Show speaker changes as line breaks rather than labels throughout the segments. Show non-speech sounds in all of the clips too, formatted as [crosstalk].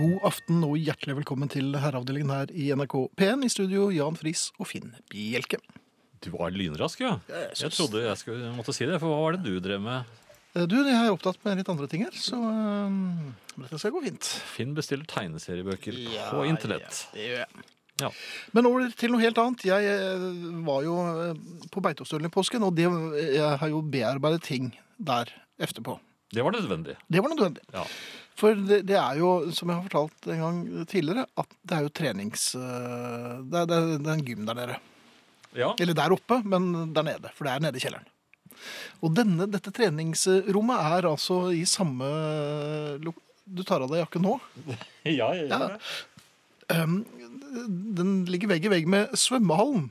God aften og hjertelig velkommen til herreavdelingen her i NRK P1. I studio Jan Friis og Finn Bjelke.
Du var lynrask, ja.
Jeg
Jeg
synes-
trodde jeg skulle, måtte si det, for hva var det du drev med?
Eh, Du, jeg er opptatt med litt andre ting her, så eh, dette skal gå fint.
Finn bestiller tegneseriebøker på
Ja,
internett.
ja, det gjør jeg.
Ja.
Men over til noe helt annet. Jeg eh, var jo eh, på Beitostølen i påsken, og det, jeg har jo bearbeidet ting der etterpå.
Det var nødvendig.
Det var nødvendig.
Ja.
For det, det er jo, som jeg har fortalt en gang tidligere, at det er jo trenings... eh, Det er, det er, det er en gym der nede.
ja.
Eller der oppe, men der nede. For det er nede i kjelleren. Og denne, dette treningsrommet er altså i samme lo- Du tar av deg jakken nå.
Ja, ja,
Ja. Um, den ligger vegg i vegg med svømmehallen.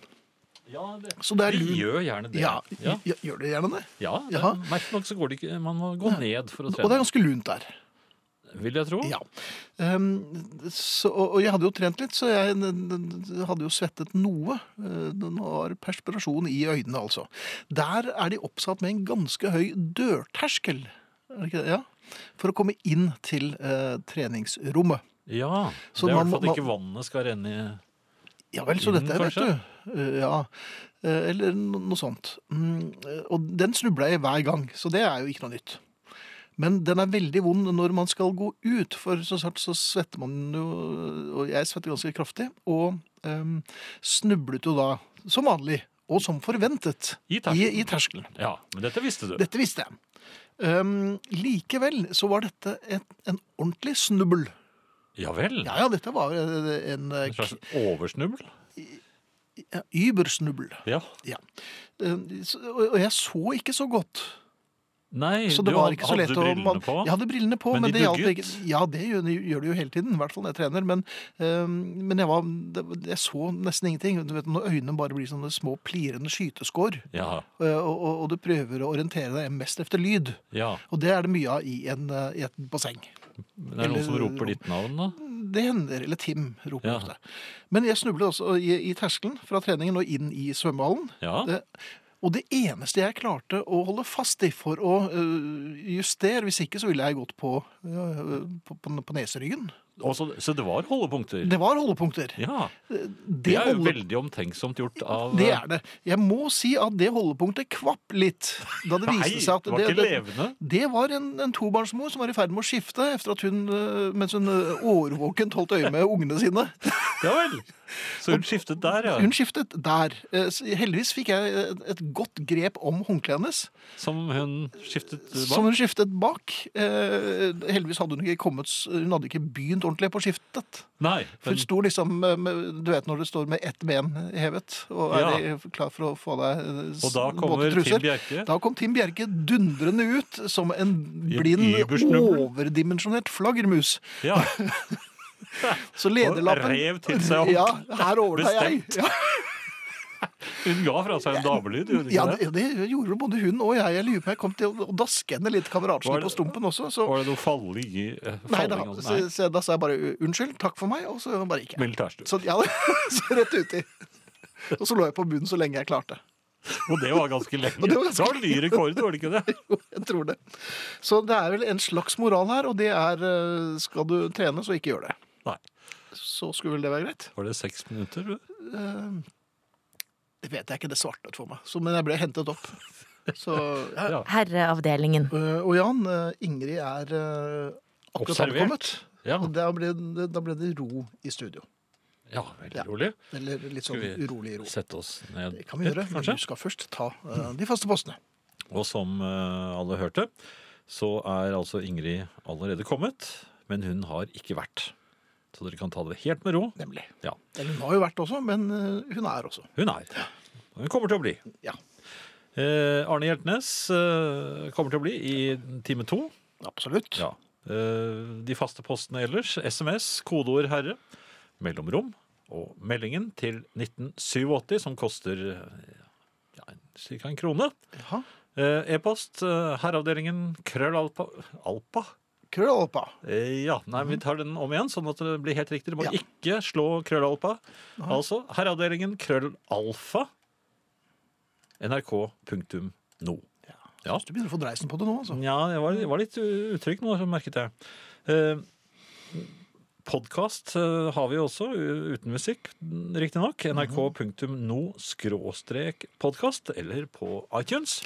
det.
Så det er
Vi
lun...
gjør gjerne det.
Ja,
ja.
gj- Gjør dere gjerne det?
ja det,
Jaha.
merkelig nok så går det ikke Man må gå ned for å
Og det er
trene,
ganske lunt der.
vil jeg tro.
Ja. Um, så, og og jeg hadde jo trent litt, så jeg n- n- hadde jo svettet noe. Eh, Den har perspirasjon i øynene, altså. Der er de oppsatt med en ganske høy dørterskel. Er det ikke det? Ja. For å komme inn til eh, treningsrommet.
Ja,
Så
Det er i
man
hvert
må-
fall at ikke vannet skal renne i
Ja vel, så
Inn,
dette er, vet
kanskje?
du. Eh, Ja. Eh, Eller no- noe sånt. Mm, eh, Og den snubler jeg i hver gang, så det er jo ikke noe nytt. Men den er veldig vond når man skal gå ut, for så snart så svetter man jo Og jeg svetter ganske kraftig, og um, snublet jo da, som vanlig, og som forventet,
I terskelen.
i, i terskelen.
Ja, men dette visste du.
Dette visste jeg. Um, likevel så var dette et, en ordentlig snubbel.
Ja vel.
Ja ja, dette var eh, en eh,
En slags oversnubbel.
k- übersnubbel.
Ja.
Ja. Eh, så- Og og jeg så ikke så godt.
Nei,
Så det
du
var
hadde-
ikke så lett
hadde
å
brillene på.
Jeg hadde brillene på,
Men
men,
de
det hjalp
dugget?
ikke. Ja, det gjør, det gjør det jo hele tiden, i hvert fall når jeg trener. Men, eh, men jeg, var, det, jeg så nesten ingenting. Du vet, når øynene bare blir sånne små plirende skyteskår,
Ja,
eh, og, og, og du prøver å orientere deg mest efter lyd.
ja.
Og det er det mye av i, en, eh, i et basseng.
Men Det er noen som
Eller-
roper ditt navn, da.
Det hender. Eller Tim roper
Ja.
ofte. Men jeg snublet også i, i terskelen fra treningen og inn i svømmehallen.
Ja.
Det, og det eneste jeg klarte å holde fast i for å øh, justere, hvis ikke så ville jeg gått på, øh, på, på, på neseryggen.
Og så, Altså, så det var holdepunkter?
Det var holdepunkter.
ja.
Det,
Det er jo
holde-
veldig omtenksomt gjort av
det er det. Jeg må si at det holdepunktet kvapp litt da det
Nei,
viste seg at
eh, det var ikke
det,
levende.
det var en, en tobarnsmor som var i ferd med å skifte efter at hun, øh, mens hun øh, årvåkent holdt øye med ungene sine.
Ja vel. Så hun skiftet der, ja.
Hun skiftet der. Eh, så Heldigvis fikk jeg et, et godt grep om håndkleet hennes.
Som hun skiftet
Som
bak.
hun skiftet bak. Eh, heldigvis hadde hun ikke kommet s- Hun hadde ikke begynt ordentlig på skiftet.
Nei.
For hun
men-
sto liksom eh, med, Du vet når du står med ett ben hevet og er i- klar for å få deg eh, s-
og da
våte
kommer Tim Bjerke.
Da kom Tim Bjerke dundrende ut som en
I en
blind,
übersnubbel.
overdimensjonert flaggermus.
Ja.
Så
Og
lederlappen
rev til seg opp.
[laughs] Ja, her overtar jeg.
Bestemt.
Ja,
Hun ga fra seg en damelyd, gjorde hun
ja,
ikke det?
det, det gjorde både hun og jeg. Jeg lurer på om jeg kom til å å daske henne litt,
Var
kameratsene
det-
på stumpen også. Så
Var det noe falling i eh,
Nei da,
falling, altså?
så,
Nei.
så da sa jeg bare "U- unnskyld, takk for meg, og så bare gikk jeg.
Militærstue.
Så, ja, [laughs] så rett uti. Og så lå jeg på bunnen så lenge jeg klarte. [laughs]
Og det var ganske lenge.
Og
Det
det
var,
var ganske
ny rekord, var det ikke det?
Jeg tror det. Så det er vel en slags moral her, og det er eh, skal du trene, så ikke gjør det.
Nei.
Så skulle vel det være greit? Eh,
Var det seks minutter?
Det vet jeg ikke, det svartnet for meg. Så, men jeg ble hentet opp. Så,
[laughs]
ja.
Ja.
Herreavdelingen.
Eh, Og Jan, eh, Ingrid er eh, akkurat
Observert.
ankommet.
Ja.
Og da ble, det, da ble det ro i studio.
ja, veldig rolig.
Eller litt sånn
Skal vi-
urolig ro.
Sette oss ned
Det kan vi gjøre, men
kanskje.
du skal først ta eh, de faste postene.
Og som eh, alle hørte, så er altså Ingrid allerede kommet, men hun har ikke vært. Så dere kan ta det helt med ro.
Nemlig.
Ja,
Eller hun har jo vært også, men eh, hun er også.
hun er. Og Hun kommer til å bli.
Ja.
Eh, Arne Hjeltnes eh, kommer til å bli i time to.
Absolutt.
Ja. Eh, de faste postene ellers, SMS, kodeord 'herre', mellomrom og meldingen til 1987, som koster eh, ja, ca. en krone.
Jaha.
Eh, Eh, E-post eh, herreavdelingen krøllalpa Alpa?
Krøllalpa.
Eh, ja. Nei, vi tar den om igjen, sånn at det blir helt riktig. Du må
Mhm. Ja.
ikke slå krøllalpa. Altså herreavdelingen krøllalfa nrk.no. Ja.
Du begynner å få dreisen på det nå, altså.
Ja, jeg var, jeg var litt u- utrygg nå, merket jeg. Eh, Podkast eh, har vi også, u- uten musikk riktignok.
Mhm.
nrk.no-podkast, eller på iTunes.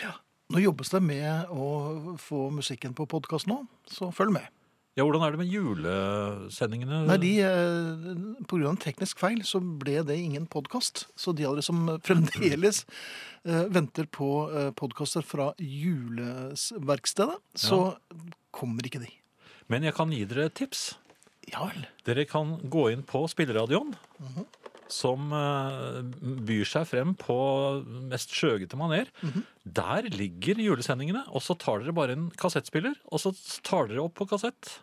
Nå jobbes det med å få musikken på podkast nå, så følg med.
Ja, Hvordan er det med julesendingene?
Nei, de, eh, på grunn av en teknisk feil så ble det ingen podkast. Så de av dere som fremdeles eh, venter på eh, podkaster fra juleverkstedet, så kommer ikke de.
Men jeg kan gi dere et tips.
Ja vel.
Dere kan gå inn på spilleradioen, som eh, byr seg frem på mest skjøgete maner. Der ligger julesendingene, og så tar dere bare en kassettspiller, og så tar dere opp på kassett.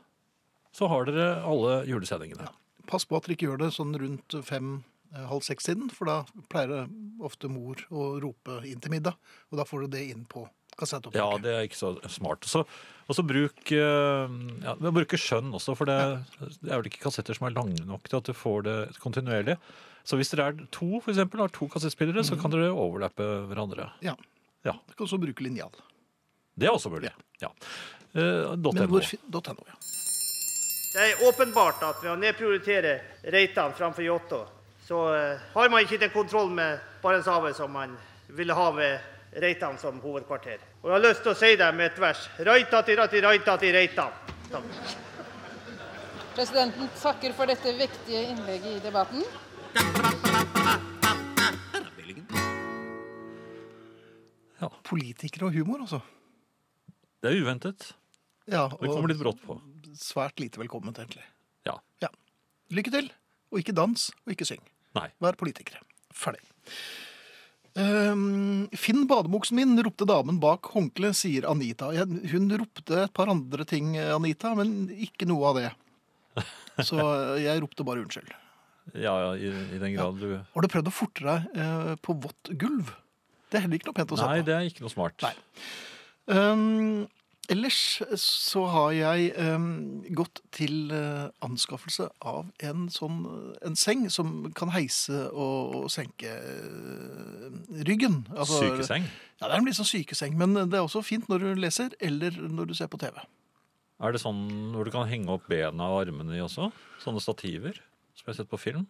Så har dere alle julesendingene.
Pass på at dere ikke gjør det sånn rundt eh, fem-halv seks-tiden, for da pleier det ofte mor å rope inn til middag, og da får du det inn på
Ja,
kassettopptaket.
det er ikke så smart. Så, og så bruk, eh, ja, men bruk skjønn også, for det, det er vel ikke kassetter som er lange nok til at du får det kontinuerlig. Så hvis dere er to, for eksempel, har to kassettspillere, så kan dere overlappe hverandre.
Ja.
Ja.
Du kan også bruke linjal.
Det er også mulig. Ja. Eh,
Men
.no.
hvor fin- .no, ja.
Det er åpenbart at ved å nedprioritere Reitan framfor Jåttå, så eh, har man ikke den kontrollen med Barentshavet som man ville ha ved Reitan som hovedkvarter. Og jeg har lyst til å si det med et vers. Raitati, rati, raitati, Reitan. Takk.
Presidenten takker for dette vektige innlegget i debatten.
Politikere og humor, altså.
Det er uventet.
Ja,
Det
og-
kommer litt brått på.
svært lite velkomment, egentlig.
Ja.
Ja. Lykke til, og ikke dans, og ikke syng.
Nei.
Vær politikere. Ferdig. Ehm, Finn badebuksen min, ropte damen bak håndkleet, sier Anita. Jeg, hun ropte et par andre ting, Anita, men ikke noe av det. Så eh, jeg ropte bare unnskyld.
Ja, ja, i, i den grad du
Har du prøvd å forte deg eh, på vått gulv? Det er heller ikke noe pent å se på.
Nei, det er ikke noe smart.
Nei. Um, ellers så har jeg um, gått til uh, anskaffelse av en sånn uh, en seng som kan heise og, og senke uh, ryggen. Altså-
Sykeseng.
Ja, det er en litt sånn sykeseng, men det er også fint når du leser eller når du ser på TV.
Er det sånn hvor du kan henge opp bena og armene i også? Sånne stativer som jeg har sett på film?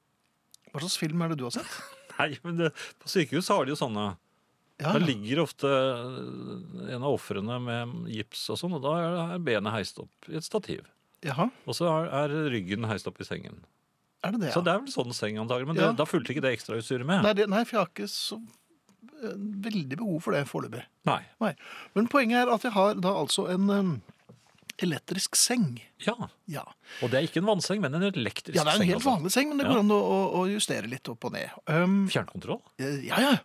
[laughs]
Hva slags film er det du har sett?
Nei, men det, på sykehus har de jo sånne.
Ja,
Da
ja.
ligger ofte eh, en av ofrene med gips og sånn, og da er benet heist opp i et stativ.
Jaha,
Og så er, er ryggen heist opp i sengen.
er det det?
Så
Ja?
det er vel sånn seng antagelig, men
Ja.
det, da fulgte ikke det ekstrautstyret med.
Nei, det, nei, for jeg har ikke så eh, veldig behov for det foreløpig.
Nei.
Nei. Men poenget er at jeg har da altså en um, elektrisk seng.
Ja,
Ja.
og det er ikke en vannseng, men en elektrisk
Ja, det er en
seng.
helt
altså.
vanlig seng, men det
Ja.
går an å, å- å justere litt opp og ned. Um,
Fjernkontroll?
eh, ja, ja.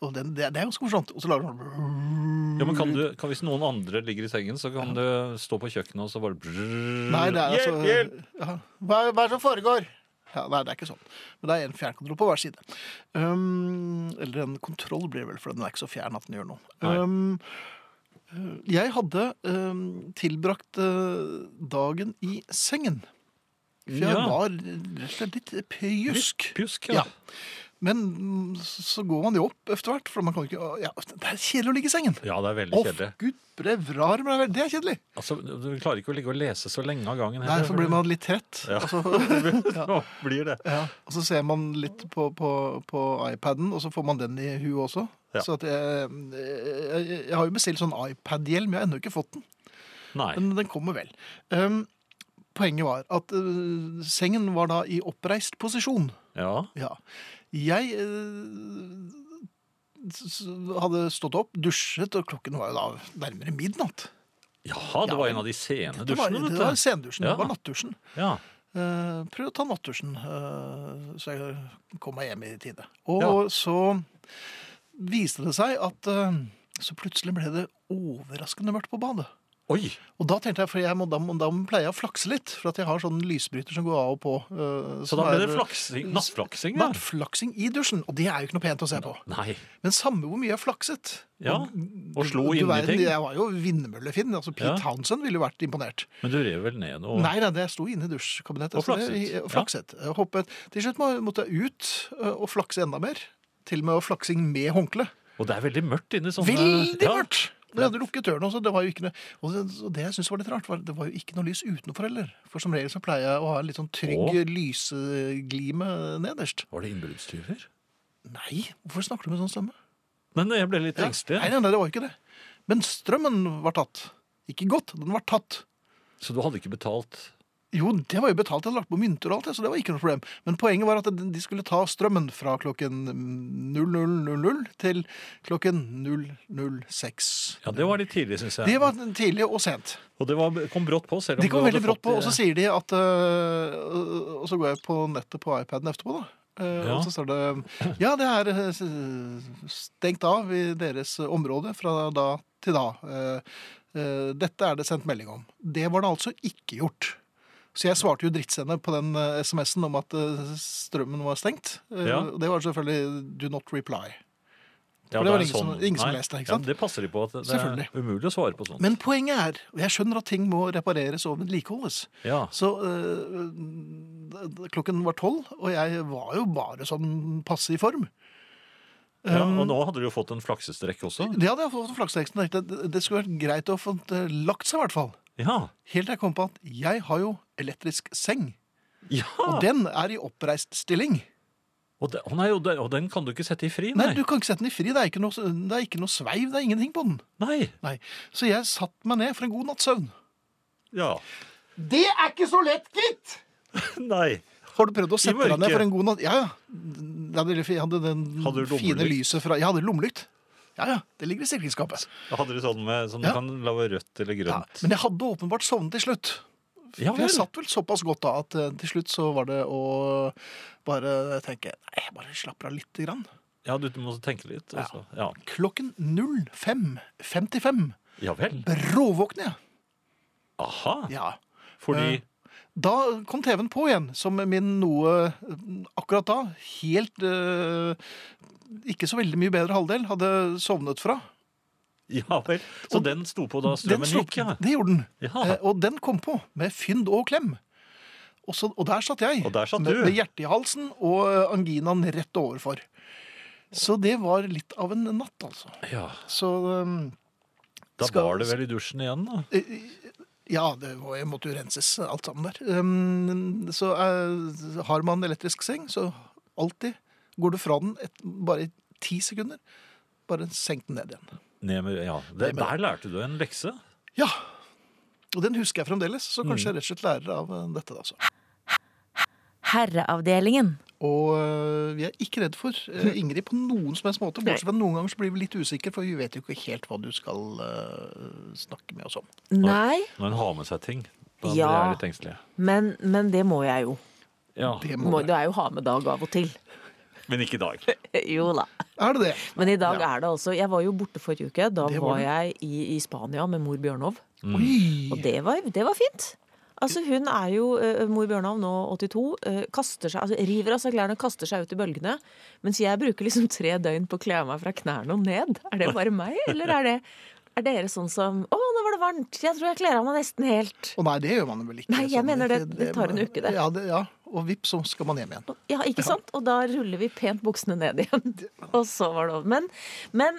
Og den, det, er- det er ganske morsomt. Og så lager den
Ja, men kan du, kan, Hvis noen andre ligger i sengen, så kan du stå på kjøkkenet og så bare brrrr.
Nei, det er altså
Hjelp, hjelp!
Ja. Hva, hva er det som foregår? Ja, nei, det er ikke sånn. Men det er en fjernkontroll på hver side. Um, eller en kontroll blir det vel, for den er ikke så fjern at den gjør noe.
Nei.
Um, eh, jeg hadde um, tilbrakt eh, dagen i sengen. For jeg
Ja.
var rett og slett litt pjusk.
Pjusk, ja.
Ja. Men mm, så går man jo opp etter hvert, for man kan jo ikke ja, Det er kjedelig å ligge i sengen.
Ja, det er veldig
Å,
kjedelig.
gud bevrar meg vel. Det er kjedelig.
Altså, Du klarer ikke å ligge og lese så lenge av gangen.
Nei, så blir man litt trett.
Ja.
Og, så,
Å, blir det.
ja, og så ser man litt på, på, på iPaden, og så får man den i huet også.
Ja.
Så at jeg, jeg, jeg har jo bestilt sånn iPad-hjelm, jeg har ennå ikke fått den.
Nei.
Men den kommer vel. Um, poenget var at uh, sengen var da i oppreist posisjon.
Ja.
Ja. Jeg eh, s- s- hadde stått opp, dusjet, og klokken var jo da nærmere midnatt.
Jaha, det
Ja,
var
men
en av de sene
Det var,
dusjene,
det var
vet du.
sendusjen,
Ja.
det var nattdusjen.
Ja.
Eh, prøv å ta nattdusjen, eh, så jeg kom meg hjem i tide. Og
Ja.
så viste det seg at eh, så plutselig ble det overraskende mørkt på badet.
Oi!
Og da tenkte jeg, for jeg må, da, må, da pleier jeg å flakse litt, for at jeg har sånn lysbryter som går av og på. eh,
Så
som
da ble det
er-
flaksing, nattflaksing, da?
Nattflaksing i dusjen, og det er jo ikke noe pent å se på.
Nei.
Men samme hvor mye jeg flakset.
Ja, og slo
Du
inn i
verden,
ting.
Jeg var jo vindmøllefinn. altså Pete
Ja.
Townsend ville jo vært imponert.
Men du rev vel ned noe?
Nei, nei, det sto inne i dusjkabinettet.
Og
så det-
flakset.
og flakset. Jeg Hoppet. Til slutt må- måtte jeg ut ø, og flakse enda mer. Til og med flaksing med håndkle.
Og det er veldig mørkt inne i sånne
Veldig
Ja.
mørkt! Jeg hadde lukket døren, så det var jo ikke noe Og det, og det jeg syntes var litt rart, var det var jo ikke noe lys utenfor heller. For som regel så pleier jeg å ha en litt sånn trygg
Å.
lyseglime nederst.
Var det innbruddstyver?
Nei, hvorfor snakker du med sånn stemme?
Men jeg ble litt
Ja.
engstelig.
Nei, nei, nei, det var jo ikke det. Men strømmen var tatt. Ikke godt, den var tatt.
Så du hadde ikke betalt?
Jo, det var jo betalt, jeg hadde lagt på mynter og alt, det, så det var ikke noe problem. Men poenget var at de skulle ta strømmen fra klokken 0000 til klokken 006.
Ja, det var litt tidlig, syns jeg.
Det var tidlig og sent.
Og det var, kom brått på, selv om
De kom
du hadde
veldig brått på,
fått det-
og så sier de at øh, Og så går jeg på nettet på iPaden etterpå, da. Eh,
Ja.
Og så står det Ja, det er eh, stengt av i deres område fra da til da. Eh, eh, Dette er det sendt melding om. Det var det altså ikke gjort. Så jeg svarte jo drittsende på den eh, SMS-en om at eh, strømmen var stengt. Eh,
Ja.
og Det var selvfølgelig 'do not reply'.
Ja,
for det
er sånn.
var ingen som- ingen som
Nei.
leste, ikke
Ja,
sant?
det passer de på at det er
Selvfølgelig.
umulig å svare på sånn. sånt.
Men poenget er, og jeg skjønner at ting må repareres og vedlikeholdes,
Ja.
Så øh, d- d- klokken var tolv, og jeg var jo bare sånn passe i form.
ja, og
Um,
nå hadde du jo fått en flaksestrekk også.
Det hadde jeg fått flakseteksten. tenkte jeg, Det, det skulle vært greit å få eh, lagt seg, i hvert fall.
Ja.
Helt til jeg kom på at jeg har jo elektrisk seng,
ja.
og den er i oppreist stilling.
Og, det, å nei, og, det, og den kan du ikke sette i fri,
Nei,
nei.
du kan ikke sette den i fri. Det er ikke noe, det er ikke noe sveiv, det er ingenting på den.
Nei.
Nei. Så jeg satte meg ned for en god natts søvn.
Ja.
Det er ikke så lett, gitt!
[laughs] Nei.
Har du prøvd å sette deg ned
mørket.
for en god natt? Ja, ja. Det er veldig fint. Jeg hadde den
Hadde du
fine
lommelykt?
lyset fra Jeg hadde lommelykt. Ja, ja. Det ligger i sikringsskapet.
Hadde du sånn med, som
Ja.
du kan lage rødt eller
Ja.
grønt?
Men jeg hadde åpenbart sovnet til slutt.
Ja,
For jeg
vel.
satt vel såpass godt da at eh, til slutt så var det å bare tenke Nei, jeg bare slapper av lite grann.
Ja, du må tenke litt. og så- Ja.
Klokken 05.55
ja vel.
bråvåkner jeg.
Aha.
Ja.
Fordi
Da kom TV-en på igjen, som min noe eh, akkurat da helt eh, ikke så veldig mye bedre halvdel hadde sovnet fra.
[laughs] Ja vel. Så den sto på da
Den
strømmen
slo-
gikk, ja.
Det gjorde den.
ja.
Eh, og den kom på med fynd og klem. Og, så, og der satt jeg.
Og der satt
med,
du.
med hjertet i halsen og eh, anginaen rett overfor. Så det var litt av en natt, altså.
ja.
Så eh,
Da
Skal-
var det vel i dusjen igjen, da.
Ja, det må, jeg måtte jo renses eh, alt sammen der. Eh, så eh, har man elektrisk seng, så alltid går du fra den et, bare i ti sekunder. Bare senk den ned igjen.
Ned med, ja. det,
Ned med-
der lærte du en lekse.
Ja. Og den husker jeg fremdeles, så kanskje
Mm.
jeg rett og slett lærer av eh, dette. altså.
Herreavdelingen.
Og øh, vi er ikke redd for
[laughs]
øh, Ingrid på noen som helst måte. Bortsett fra noen ganger så blir vi litt usikre, for vi vet jo ikke helt hva du skal øh, snakke med oss om.
Nei,
Når en har med seg ting. Da blir
Ja.
jeg litt engstelig.
men, men det må jeg jo.
Ja.
Det må
Må,
det.
det er jo ha med dag av og
[laughs]
til.
Men ikke i dag.
Jo da.
Er det det?
Men i dag
Ja.
er det altså Jeg var jo borte forrige uke. Da
Det var
var,
du.
jeg i, i Spania med mor Bjørnov.
Oi!
Og det var, det var fint. Altså Hun er jo eh, mor Bjørnov, nå 82. eh, kaster seg, altså River av seg klærne, kaster seg ut i bølgene. Mens jeg bruker liksom tre døgn på å kle av meg fra knærne og ned. Er det bare meg, eller er det er dere sånn som 'Å, nå var det varmt! Jeg tror jeg kler av meg nesten helt'.
Å nei, det gjør man vel ikke.
Nei, jeg
sånn.
mener det- det tar en uke, det.
Ja, det, ja. og vips, så skal man hjem igjen.
Ja, ikke sant? Og da ruller vi pent buksene ned igjen. Og så var det over. Men, men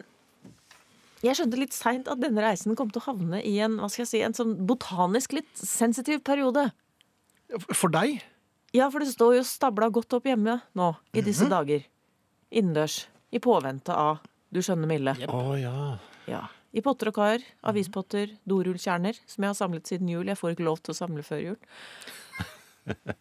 jeg skjønte litt seint at denne reisen kom til å havne i en, hva skal jeg si, en sånn botanisk litt sensitiv periode.
For deg?
Ja, for det står jo stabla godt opp hjemme nå i disse dager. Innendørs. I påvente av Du skjønner, Mille.
Å ja.
Ja. I potter og kar, avispotter, dorullkjerner, som jeg har samlet siden jul. Jeg får ikke lov til å samle før
[laughs]
jul.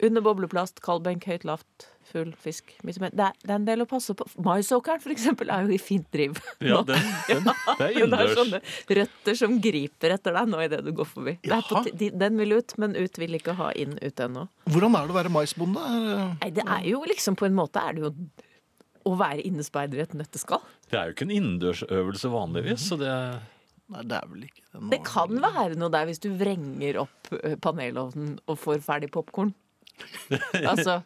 Under bobleplast, kaldbenk, høyt lavt, full fisk. midt i mellom. Det er, det er en del å passe på. Maisåkeren, for eksempel, er jo i fint driv. [laughs]
ja den, den, det er
Det er
innendørs.
sånne røtter som griper etter deg nå idet du går forbi. Det er på,
Jaha.
ti- de- den vil ut, men ut vil ikke ha inn ut ennå.
Hvordan er det å være maisbonde? eh,
Nei, det er jo liksom på en måte er det jo å være innespeider i et nøtteskall.
Det er jo ikke en innendørsøvelse vanligvis, så det
Nei, det er vel ikke det.
Det kan være noe der hvis du vrenger opp eh, panelovnen og får ferdig
[laughs]
popkorn. altså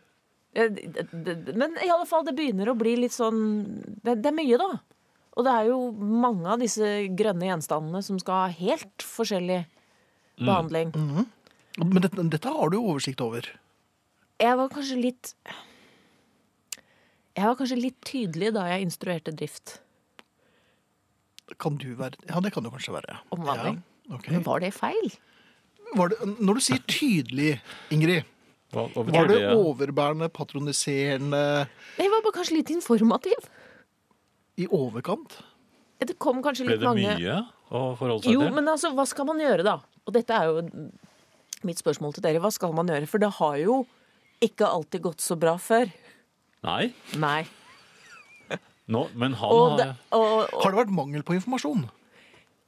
eh, det, det, Men i alle fall, det begynner å bli litt sånn Det, det er mye, da. Og det er jo mange av disse grønne gjenstandene som skal ha helt forskjellig
Mm.
behandling.
Men dette, dette har du jo oversikt over.
Jeg var kanskje litt Jeg var kanskje litt tydelig da jeg instruerte drift
Kan du være Ja, det kan du kanskje være.
om vanning.
Ja, ok.
Men var det feil?
Var det, når du sier tydelig, Ingrid,
Hva, hva
var
betyr
det
det?
overbærende, patroniserende,
Jeg var bare kanskje litt informativ.
i overkant?
Det kom kanskje
Ble
litt
det
mange
mye å forholde seg
Jo,
til?
men altså, hva skal man gjøre da? Og dette er jo mitt spørsmål til dere. Hva skal man gjøre? For det har jo ikke alltid gått så bra før.
Nei.
Nei.
Nå, men han
Og, det,
har
og,
Har det vært mangel på informasjon?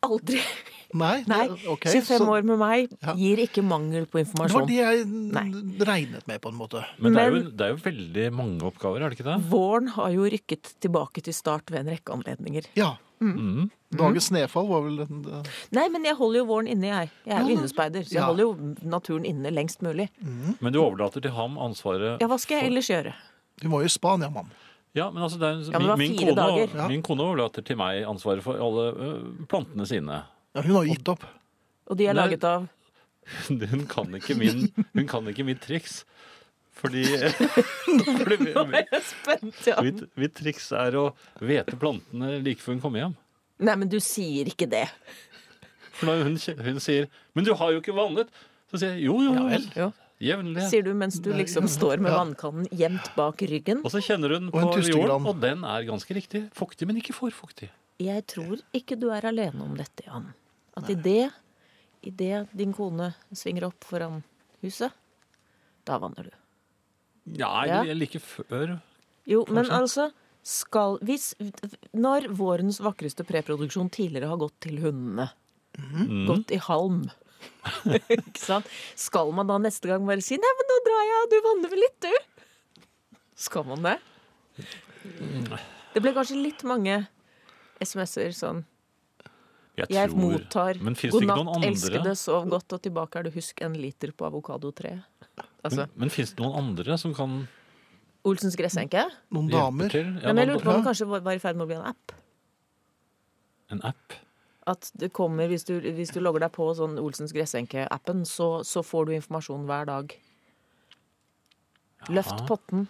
og aldri [laughs]
Nei.
Nei,
det- ok,
25
så
år med meg
Ja.
gir ikke mangel på
Det var
informasjon.
det jeg
Nei.
regnet med, på en måte.
Men, det, er jo,
men-
det er jo veldig mange oppgaver, er det ikke det?
Våren har jo rykket tilbake til start ved en rekke anledninger.
Ja.
Mm.
Dagens snefall var vel en eh,
Nei, men jeg holder jo våren inne, jeg. Jeg er jo innespeider, så jeg
Ja.
holder jo naturen inne lengst mulig.
Men du overlater til ham ansvaret
Ja, hva skal jeg ellers gjøre?
Du var jo i Spania, mann.
Ja, men altså, det er,
Ja, men det var
min, min,
fire
kone,
dager.
min kone overlater til meg ansvaret for alle ø, plantene sine. [laughs]
Ja, hun har jo gitt opp.
Og de er
Nei.
laget av
Hun kan ikke min, hun kan ikke mitt triks. Fordi, [laughs] fordi mi- mi-
Vent, ja.
mitt, mitt triks er å hvete plantene like før hun kommer hjem.
Nei, men du sier ikke det.
For når hun, kje- hun sier 'men du har jo ikke vannet', så sier jeg 'jo, jo, jo,
Jo.
jevnlig'.
Sier du mens du liksom står med vannkannen gjemt bak ryggen.
Og så kjenner hun
Og en
på
tustegran.
jorden, og den er ganske riktig. Fuktig, men ikke for fuktig.
Jeg tror ikke du er alene om dette, Jan. At idet i det din kone svinger opp foran huset, da vanner du.
Nei,
Ja.
eller like før.
Jo, men altså skal, hvis, Når vårens vakreste preproduksjon tidligere har gått til hundene,
Mhm.
gått i halm [laughs] ikke sant? Skal man da neste gang bare si 'nei, men nå drar jeg, og du vanner vel litt, du'? Skal man det?
Mm.
Det ble kanskje litt mange SMS-er sånn Jeg
tror-
mottar
Men finnes
god
det ikke noen
natt,
andre?
elskede, sov godt, og tilbake er du husk en liter på avokadotreet. Altså
Men, men fins det noen andre som kan
Olsens gressenke.
Noen
hjelpe
damer.
til? Ja,
Nei, men jeg
noen-
lurte på om det kanskje var var i ferd med å bli en app.
En app?
at det kommer, hvis du, hvis du logger deg på sånn Olsens gressenke-appen, så, så får du informasjon hver dag. Løft potten.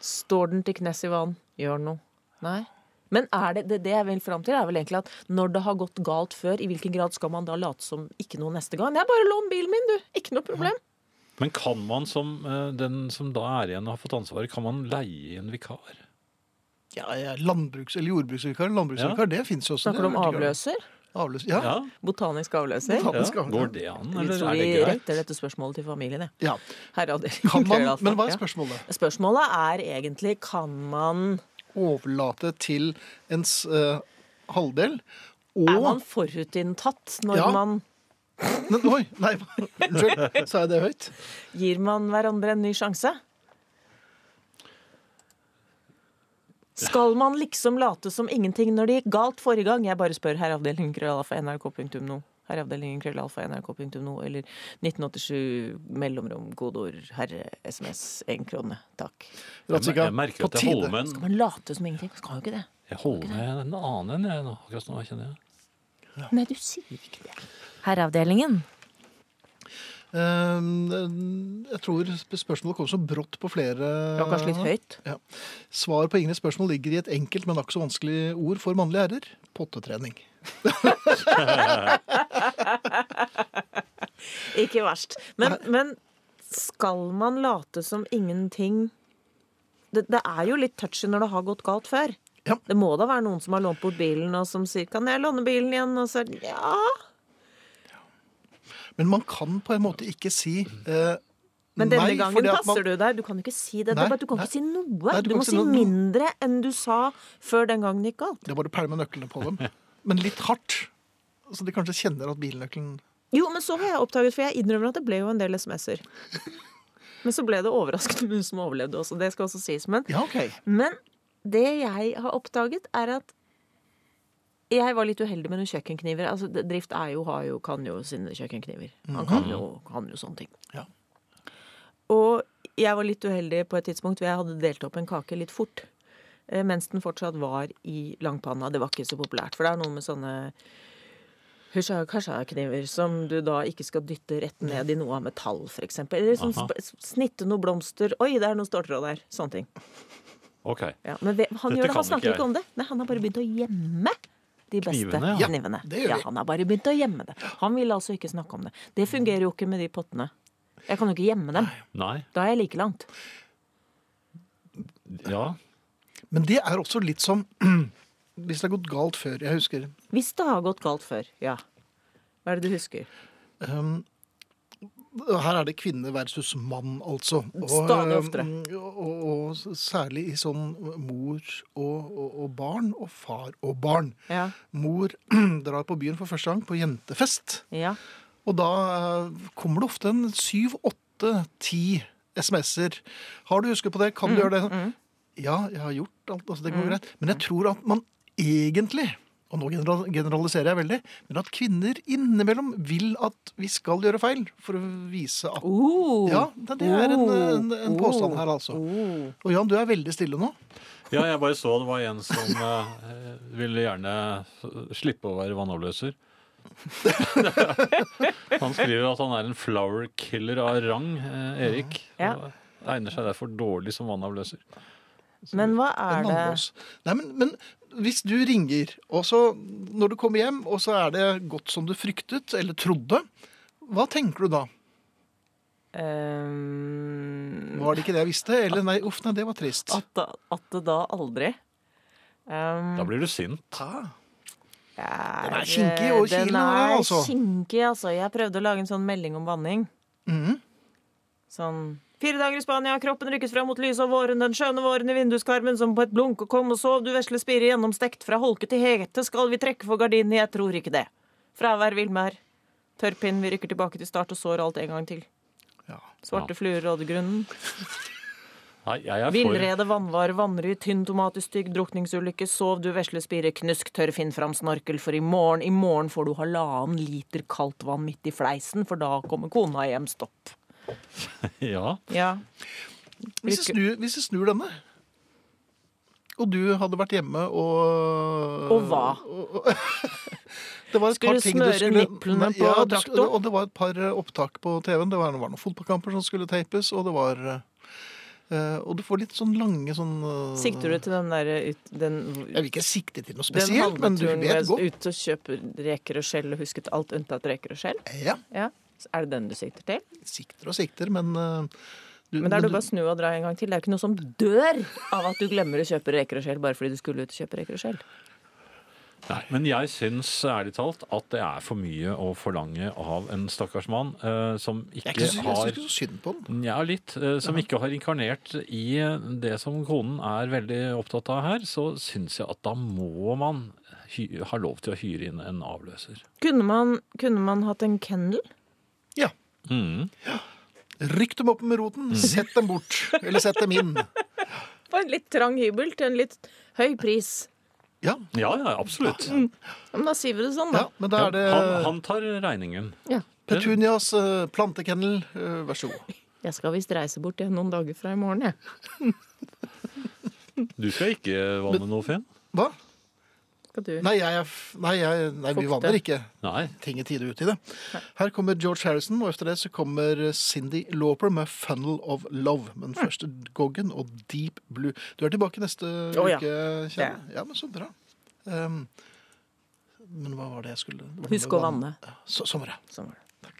Står den til knes i vann? Gjør noe. Nei. Men er det, det, det jeg vil fram til, er vel egentlig at når det har gått galt før, i hvilken grad skal man da late som ikke noe neste gang? Nei, bare lån bilen min, du! Ikke noe problem.
Men kan man som eh, den som da er igjen og har fått ansvaret, kan man leie en vikar?
Ja, ja, landbruks- eller jordbruksvikar. Landbruksvikar, det fins jo også.
Snakker du om
Det er vertikalt.
avløser?
Avløs, ja.
Ja,
Botanisk avløser?
Ja.
ja. sånn
Skal vi-
Går det an,
Jeg
eller
tror
er
vi
det
retter
greit?
dette spørsmålet til familien, jeg.
ja.
[laughs] Herreavdelingen.
Kan man,
Krøllalfa.
men hva er
altså. Ja.
spørsmålet?
Spørsmålet er egentlig kan man
Overlate til ens eh, halvdel
Er man
og
forutinntatt når
Ja.
man
Men, Oi, nei, unnskyld. Sa jeg det høyt?
gir man hverandre en ny sjanse? Skal man liksom late som ingenting når det gikk galt forrige gang? Jeg bare spør herreavdelingen krøllalfa nrk.no. Herreavdelingen krøllalfa nrk.no eller 1987 mellomrom kodeord herre SMS én krone. Takk.
Jeg,
Ratzika,
jeg merker
sånn på
at jeg holder
tide.
med en,
Man late som ingenting. Skal jo ikke det.
jeg holder med en annen enn jeg nå, akkurat nå, kjenner jeg.
Nei, du sier ikke det.
Herreavdelingen.
Eh, jeg tror sp- spørsmålet kom så brått på flere
Det var kanskje litt høyt.
Ja. Svar på Ingrids spørsmål ligger i et enkelt, men akk så vanskelig ord for mannlige ærer. Pottetrening.
Ikke verst. Men, men skal man late som ingenting det, det er jo litt touchy når det har gått galt før.
Ja.
Det må da være noen som har lånt bort bilen, og som sier 'kan jeg låne bilen igjen?' Og så er det, ja.
Men man kan på en måte ikke si eh,
Men denne
nei,
gangen
fordi at man,
passer du deg. Du kan jo ikke si det. det
Nei,
er bare, at du kan
nei.
ikke si noe.
Nei, du
du,
kan
må
ikke si
si
noe.
mindre enn du sa før den gangen det gikk galt.
Det er bare å pælme nøklene på dem. Men litt hardt. Så de kanskje kjenner at bilnøkkelen
Jo, men så har jeg oppdaget, for jeg innrømmer at det ble jo en del
[laughs]
SMS-er. Men så ble det overraskende mye som overlevde også. Det skal også sies. Men
Ja, OK.
Men det jeg har oppdaget, er at Jeg var litt uheldig med noen kjøkkenkniver. Altså, d- Drift er jo, har jo, kan jo sine kjøkkenkniver. Han kan jo, kan jo sånne ting.
Ja.
Og jeg var litt uheldig på et tidspunkt hvor jeg hadde delt opp en kake litt fort. eh, Mens den fortsatt var i langpanna. Det var ikke så populært. For det er noe med sånne husha-kasha-kniver som du da ikke skal dytte rett ned i noe av metall, f.eks. Eller sånn
Aha.
sp- snitte noen blomster. Oi, det er noe ståltråd der. Sånne ting.
Ok.
Ja, men ve- han,
Dette
gjør det,
kan
han snakker
ikke
ikke om det. Nei, han har bare begynt å gjemme de beste knivene.
Knivene,
ja. Ja,
Ja.
det gjør vi.
han har bare begynt å gjemme det. Han vil altså ikke snakke om det. Det fungerer jo ikke med de pottene. Jeg kan jo ikke gjemme dem.
Nei.
Da er jeg like langt.
Ja.
Men det er også litt som [clears throat] Hvis det har gått galt før Jeg husker
Hvis det har gått galt før, ja. Hva er det du husker?
um, Her er det kvinne versus mann, altså.
Stadig oftere.
um, Og, og, og særlig i sånn mor og, og, og barn, og far og barn.
Ja.
Mor [clears throat] drar på byen for første gang på jentefest.
ja.
Og da eh, kommer det ofte en syv, åtte, ti SMS-er. Har du husket på det?
Mm,
Kan du gjøre det? Ja, jeg har gjort alt. Altså, det går greit. Men
mm.
jeg tror at man egentlig og nå general- generaliserer jeg veldig, men at kvinner innimellom vil at vi skal gjøre feil for å vise at
Oh.
Ja, det, det er en, en, en påstand her, altså.
Oh.
Og Jan, du er veldig stille nå.
ja, jeg bare så det var en som eh, ville gjerne slippe å være vannavløser. [laughs] han skriver at han er en flower killer av rang, eh, Erik.
Ja.
Og Egner seg derfor dårlig som vannavløser.
Men hva
En
er det
vannlås. Nei, men, men hvis du ringer, og så når du kommer hjem, og så er det godt som du fryktet eller trodde, hva tenker du da?
Ehm,
Var det ikke det jeg visste? Eller nei, uff, nei, det var trist.
at, det- at det da aldri Ehm,
Da blir du sint.
Ah,
Den
er kinkig og
eh,
kilen
Den
over
er
den, altså.
kinkig, altså. Jeg prøvde å lage en sånn melding om vanning.
Mm.
Sånn Fire dager i Spania, kroppen rykkes fra mot lyset av våren, den skjønne våren i vinduskarmen som på et blunk og kom og sov, du vesle spire gjennomstekt, fra holke til hete skal vi trekke for gardinene, jeg tror ikke det. Fravær villmær, tørrpinn, vi rykker tilbake til start og sår alt en gang til.
Ja.
Svarte fluer råder grunnen.
Nei, jeg er for
Villrede, vannvare, vannry, tynn tomat i stygg, drukningsulykke, sov du vesle spire, knusk tørr, finn fram snorkel, for i morgen, i morgen får du halvannen liter kaldt vann midt i fleisen, for da kommer kona hjem, stopp.
[laughs] Ja.
Ja.
Hvis, jeg snur, hvis jeg snur denne, og du hadde vært hjemme og [laughs]
Og hva?
Det var et
Skulle
par ting
smøre nipplene
Nei,
på
du sk-
traktoren?
Og det var et par eh, opptak på TV-en. Det var, det var noen fotballkamper som skulle tapes, og det var eh, Og du får litt sånn lange sånn eh,
Sikter du til den derre ut... Den,
Jeg vil ikke sikte til noe
den
spesielt, men du
handleturen hvor jeg
vet
var
godt.
ute og kjøper reker og skjell og husket alt unntatt reker og skjell?
Ja,
Ja. Så Er det den du sikter til?
sikter og sikter, men eh, du,
Men da er det bare å snu og dra en gang til. Det er ikke noe som dør av at du glemmer å kjøpe reker og skjell bare fordi du skulle ut og kjøpe reker og skjell.
Nei, men jeg syns ærlig talt at det er for mye å forlange av en stakkars mann eh, som
Jeg er
ikke,
ikke så- jeg
har
synes ikke så synd på den.
ja, litt. eh, Som ikke har inkarnert i det som konen er veldig opptatt av her, så syns jeg at da må man hy ha lov til å hyre inn en avløser.
Kunne man, kunne man hatt en kennel?
Ja. Rykk dem opp med roten, sett dem bort. Eller sett dem inn.
På en litt trang hybel til en litt høy pris.
Ja,
Ja, ja, absolutt.
Ja, Men da sier vi det sånn,
ja
da.
men da er det
han, han tar regningen.
Ja.
Petunias eh, plantekennel, eh, vær så god.
Jeg skal visst reise bort igjen noen dager fra i morgen, jeg.
Du skal ikke vanne noe, Finn?
Hva?
Skal du
Nei, jeg, er f- nei, jeg, nei vi
Fukte.
vanner ikke
Nei.
ting i tide og utide. Her kommer George Harrison, og etter det så kommer Cindy Lauper med 'Funnel of Love'. Men først Goggen og 'Deep Blue'. Du er tilbake neste
Å, ja.
uke, Kjell. Ja, men så bra. Um, men hva var det jeg skulle det var noe
Husk
med
å vanne.
Ja, Så, sånn var det.
Sånn var det.
Takk.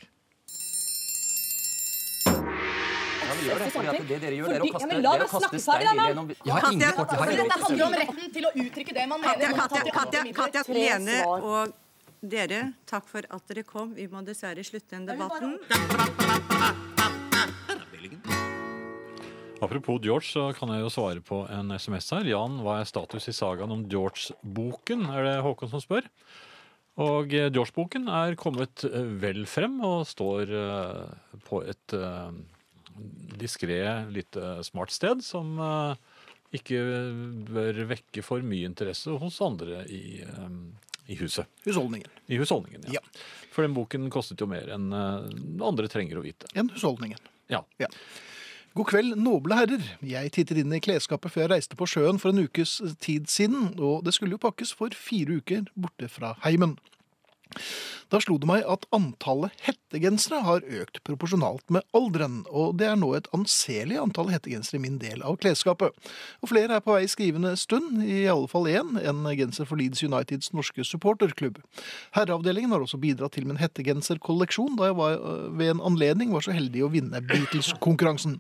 Ja, vi gjør det, fordi at det dere gjør, det er å
Fordi- ja,
kaste,
men
det
la
er å
meg
kaste
snakke
stein
ferdig, da,
inn gjennom Jeg har ingen kort, jeg har
Altså,
ingen
dette
kort.
handler om retten til å uttrykke det man mener.
Katja,
Man
Katja,
tar til
Katja,
alle
Katja,
midler. Tre
Lene
svar.
og dere, takk for at dere kom. Vi må dessverre slutte den
vil bare-
debatten.
Apropos George, så kan jeg jo svare på en SMS her. Jan, hva er status i sagaen om George-boken, er det Håkon som spør. Og eh, George-boken er kommet eh, vel frem og står eh, på et eh, diskré, lite smart sted som eh, ikke bør vekke for mye interesse hos andre i, eh, i huset.
Husholdningen.
I husholdningen,
Ja.
ja. For den boken kostet jo mer enn eh, andre trenger å vite.
Enn husholdningen.
Ja.
Ja. God kveld, noble herrer. Jeg tittet inn i klesskapet før jeg reiste på sjøen for en ukes eh, tid siden, og det skulle jo pakkes for fire uker borte fra heimen. Da slo det meg at antallet hettegensere har økt proporsjonalt med alderen, og det er nå et anselig antall hettegensere i min del av klesskapet. Og flere er på vei i skrivende stund, i alle fall én, en genser for Leeds Uniteds norske supporterklubb. Herreavdelingen har også bidratt til min hettegenserkolleksjon, da jeg var, øh, ved en anledning var så heldig å vinne Beatles-konkurransen.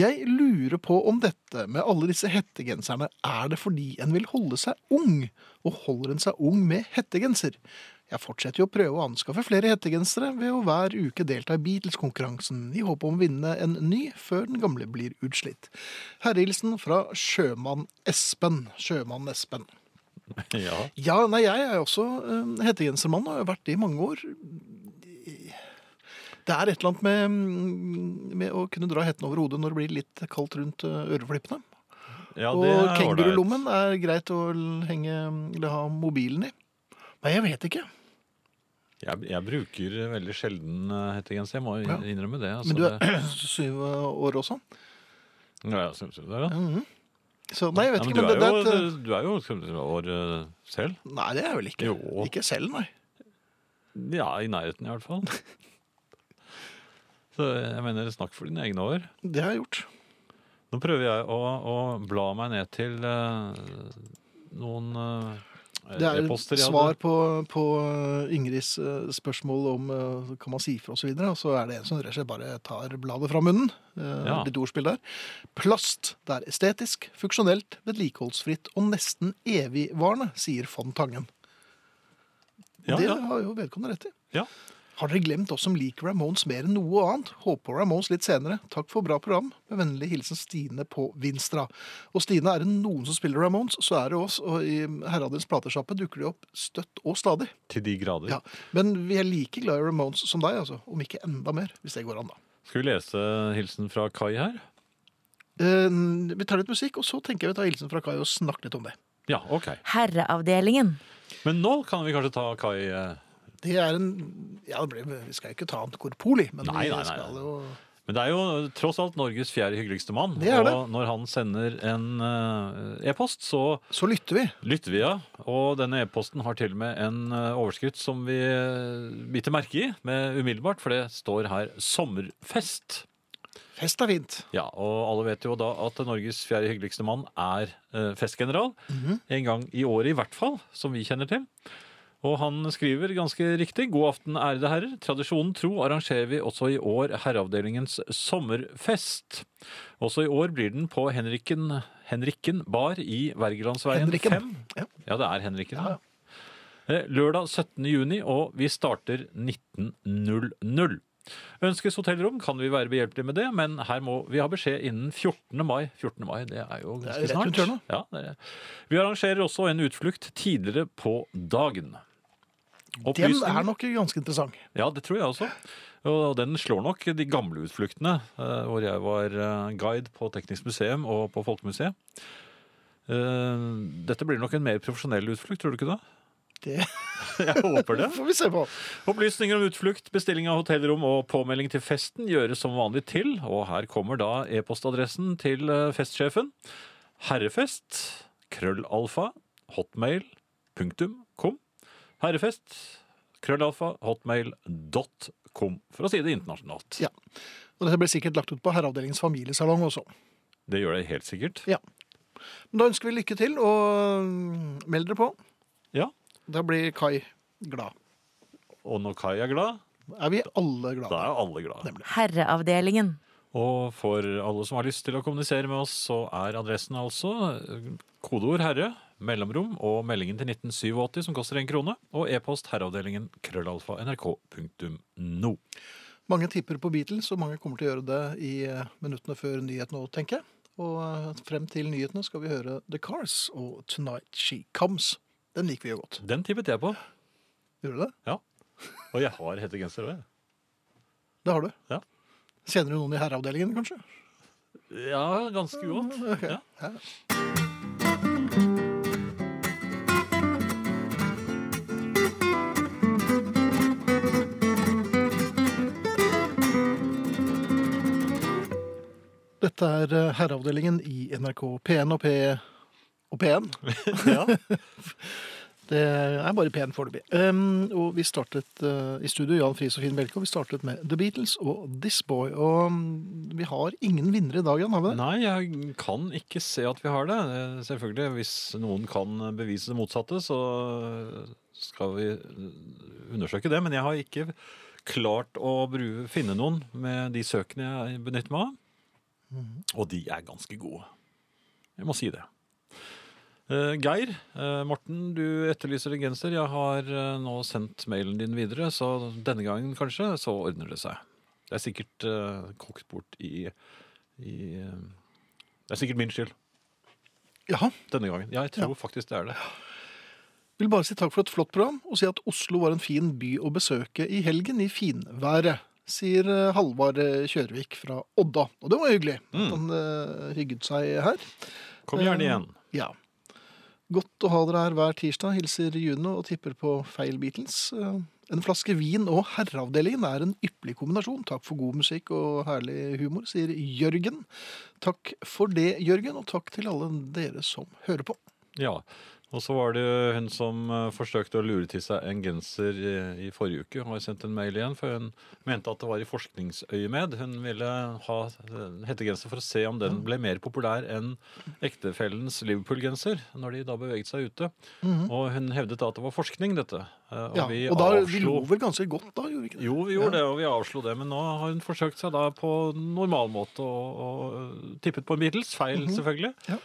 Jeg lurer på om dette med alle disse hettegenserne, er det fordi en vil holde seg ung, og holder en seg ung med hettegenser? Jeg fortsetter jo å prøve å anskaffe flere hettegensere ved å hver uke delta i Beatles-konkurransen, i håp om å vinne en ny før den gamle blir utslitt. Herrehilsen fra Sjømann Espen. Sjømann Espen.
ja.
Ja, nei, jeg er jo også eh, hettegensermann og har vært det i mange år. Det er et eller annet med, mm, med å kunne dra hetten over hodet når det blir litt kaldt rundt eh, øreflippene.
[laughs] ja det
og
er
kengurulommen er greit å l- henge, eller ha mobilen i. Nei, jeg vet ikke.
ålreit. Jeg, jeg bruker veldig sjelden eh, hettegenser, jeg må
Ja.
innrømme det. Altså,
Men du [clears throat]
det-
er syv eh, år sånn. også.
Ja, ja, syns du det? Ja.
Så, Mm, nei, jeg vet
Ja, men
ikke, men
du,
det,
er jo,
det er et,
du er jo 75 år eh, selv.
Nei, det er jeg vel ikke.
Jo.
Ikke selv, nei.
Ja, i nærheten i hvert fall. Så jeg mener, snakk for dine egne år.
Det har jeg gjort.
Nå prøver jeg å, å bla meg ned til eh, noen eh,
Det er
e-poster jeg hadde.
svar på, på Ingrids eh, spørsmål om eh, kan man si fra osv. Og så er det en som rett og slett bare tar bladet fra munnen. eh,
Ja.
Litt ordspill der. Plast. Det er estetisk, funksjonelt, vedlikeholdsfritt og nesten evigvarende, sier von Tangen.
Ja,
det
ja,
har jo vedkommende rett i.
ja.
Har dere glemt oss som liker Ramones mer enn noe annet? Håper på Ramones litt senere. Takk for bra program. Med vennlig hilsen Stine på Vinstra. Og Stine, er det noen som spiller Ramones, så er det oss. Og i Herreavdelens platesjappe dukker de opp støtt og stadig.
Til de grader.
Ja. Men vi er like glad i Ramones som deg, altså. Om ikke enda mer, hvis det går an, da.
Skal vi lese hilsen fra Kai her?
Eh, vi tar litt musikk, og så tenker jeg vi tar hilsen fra Kai og snakker litt om det.
Ja, ok.
Herreavdelingen.
Men nå kan vi kanskje ta Kai eh,
Det er en Ja, det blir, vi skal jo ikke ta han korpoli, men
Nei, nei,
vi
nei,
skal
nei.
jo
Men det er jo eh, tross alt Norges fjerde hyggeligste mann.
Det er det.
Og når han sender en eh, e-post, så
Så lytter vi.
lytter vi, ja. Og denne e-posten har til og med en eh, overskrift som vi eh, biter merke i med umiddelbart, for det står her 'Sommerfest'.
Fest er fint.
Ja, og alle vet jo da at Norges fjerde hyggeligste mann er eh, festgeneral. En gang i året i hvert fall, som vi kjenner til. Og han skriver ganske riktig. God aften, ærede herrer. Tradisjonen tro arrangerer vi også i år Herreavdelingens sommerfest. Også i år blir den på Henrikken, Henrikken bar i Wergelandsveien
Henrikken.
5.
Ja.
Ja, det er Henrikken. Ja. Eh, Lørdag 17. juni, og vi starter 19.00. Ønskes hotellrom, kan vi være behjelpelige med det, men her må vi ha beskjed innen 14. mai. 14. mai, det er jo
Det er jo
ganske
rett rundt
snart.
hjørnet.
Ja, det er. Vi arrangerer også en utflukt tidligere på dagen.
Den
Opplysninger-
er nok ganske interessant.
ja, det tror jeg også. Og den slår nok de gamle utfluktene, eh, hvor jeg var eh, guide på Teknisk museum og på Folkemuseet. Eh, Dette blir nok en mer profesjonell utflukt, tror du ikke det?
Det
[laughs] Jeg håper det.
får vi se på.
Opplysninger om utflukt, bestilling av hotellrom og påmelding til festen gjøres som vanlig til, og her kommer da e-postadressen til eh, festsjefen. Herrefest, krøllalfa, hotmail, punktum, kom. Herrefest, krøllalfa, hotmail, dot, com, for å si det internasjonalt.
Ja. Og dette blir sikkert lagt ut på Herreavdelingens familiesalong også.
Det gjør det helt sikkert.
Men da ønsker vi lykke til, og mm, meld dere på.
Ja,
Da blir Kai glad.
og når Kai er glad,
Er vi alle
da
glade?
er alle glade.
Herreavdelingen.
Og for alle som har lyst til å kommunisere med oss, så er adressen altså eh, kodeord herre, mellomrom og meldingen til 1987 som koster en krone, og e-post herreavdelingen krøllalfa nrk.no.
Mange tipper på Beatles, og mange kommer til å gjøre det i eh, minuttene før nyhetene òg, tenker jeg. Og eh, frem til nyhetene skal vi høre The Cars og Tonight She Comes. Den liker vi jo godt.
Den tippet jeg på,
Gjorde du det?
og jeg har hettegenser òg.
Det har du.
Ja.
Kjenner du noen i herreavdelingen, kanskje?
Ja, ganske godt. Ja.
Dette er eh, herreavdelingen i NRK P1 og P... Og P1.
[laughs] Ja.
[laughs] Det er bare P1 foreløpig. Um, og vi startet eh, i studio, Jan Friis og Finn Bjelke, og vi startet med The Beatles og This Boy. Og mm, vi har ingen vinnere i dag, Jan, har vi det?
Nei, jeg kan ikke se at vi har det. Eh, Selvfølgelig, hvis noen kan bevise det motsatte, så skal vi eh, undersøke det. Men jeg har ikke klart å bru- finne noen med de søkene jeg benytter meg av. Og de er ganske gode. Jeg må si det. Eh, Geir, eh, Morten, du etterlyser en genser. Jeg har eh, nå sendt mailen din videre, så denne gangen kanskje, så ordner det seg. Det er sikkert eh, kokt bort i, i eh, Det er sikkert min skyld
Jaha.
denne gangen. Ja, jeg tror faktisk det er det.
Vil bare si takk for et flott program, og si at Oslo var en fin by å besøke i helgen i finværet, sier eh, Halvard eh, Kjørvik fra Odda. Og det var hyggelig
Mm.
at han eh, rygget seg her.
Kom gjerne igjen.
Ja. Godt å ha dere her hver tirsdag, hilser Juno og tipper på feil Beatles. Eh, En flaske vin og herreavdelingen er en ypperlig kombinasjon. Takk for god musikk og herlig humor, sier Jørgen. Takk for det, Jørgen, og takk til alle dere som hører på.
Ja. Og så var det hun som eh, forsøkte å lure til seg en genser eh, i, i forrige uke. Hun har sendt en mail igjen, for hun mente at det var i forskningsøyemed. Hun ville ha eh, hettegenser for å se om den ble mer populær enn ektefellens Liverpool-genser, når de da beveget seg ute. Og hun hevdet da at det var forskning, dette. Eh, Mm-hmm. Og
Ja,
vi
og da, vi
avslo
lo vel ganske godt da, gjorde vi ikke det?
Jo, vi gjorde det, og vi avslo det. Men nå har hun forsøkt seg da på normal måte og, og øh, tippet på en Beatles. Feil, selvfølgelig.
Ja.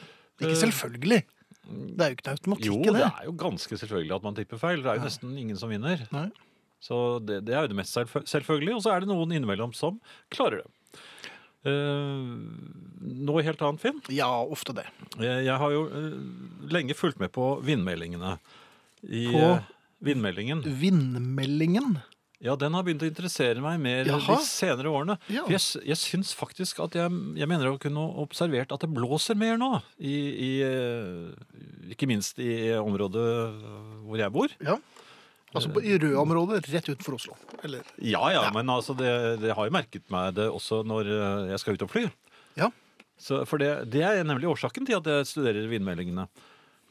Ikke selvfølgelig. Det er jo ikke noe automatikk
eh, Jo,
i
det
det.
er jo ganske selvfølgelig at man tipper feil. Det er jo nesten ingen som vinner.
Nei.
Så det, det er jo det mest selvfø- selvfølgelige. Og så er det noen innimellom som klarer det. Eh, noe helt annet, Finn.
Ja, ofte det.
Jeg, jeg har jo eh, lenge fulgt med på vindmeldingene. I,
På?
eh, Vindmeldingen.
Vindmeldingen.
Ja, den har begynt å interessere meg mer
Jaha.
de senere årene.
Ja.
For jeg, s- jeg syns faktisk at jeg, jeg mener å kunne observert at det blåser mer nå. I, i, eh, ikke minst i området hvor jeg bor.
Ja. Altså på,
Eh,
i røde områder, rett utenfor Oslo. Eller,
Ja, ja, men altså det, det har jo merket meg det også når eh, jeg skal ut og fly.
ja.
Så, for det, det er nemlig årsaken til at jeg studerer vindmeldingene.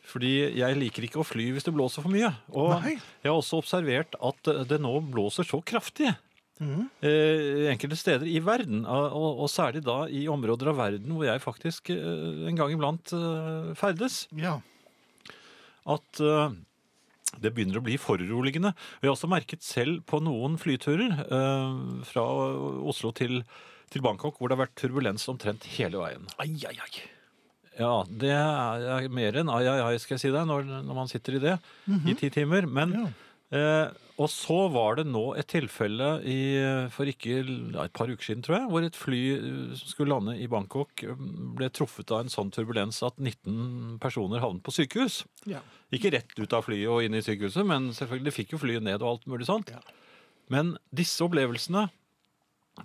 Fordi jeg liker ikke å fly hvis det blåser for mye. Og
Nei.
jeg har også observert at eh, det nå blåser så kraftig.
Mhm.
eh, Enkelte steder i verden, og, og- og særlig da i områder av verden hvor jeg faktisk eh, en gang iblant eh, ferdes,
ja.
at eh, det begynner å bli foruroligende. Og jeg har også merket selv på noen flyturer eh, fra Oslo til, til Bangkok, hvor det har vært turbulens omtrent hele veien.
Ai, ai, ai.
Ja, det er er mer enn ai, ai, ai, skal jeg si deg, når, når man sitter i det
Mhm.
i ti timer. Men, eh, og så var det nå et tilfelle i, for ikke ja, et par uker siden, tror jeg, hvor et fly eh, som skulle lande i Bangkok, eh, ble truffet av en sånn turbulens at 19 personer havnet på sykehus.
Ja.
Ikke rett ut av flyet og inn i sykehuset, men selvfølgelig de fikk jo flyet ned og alt mulig sånt.
Ja.
Men disse opplevelsene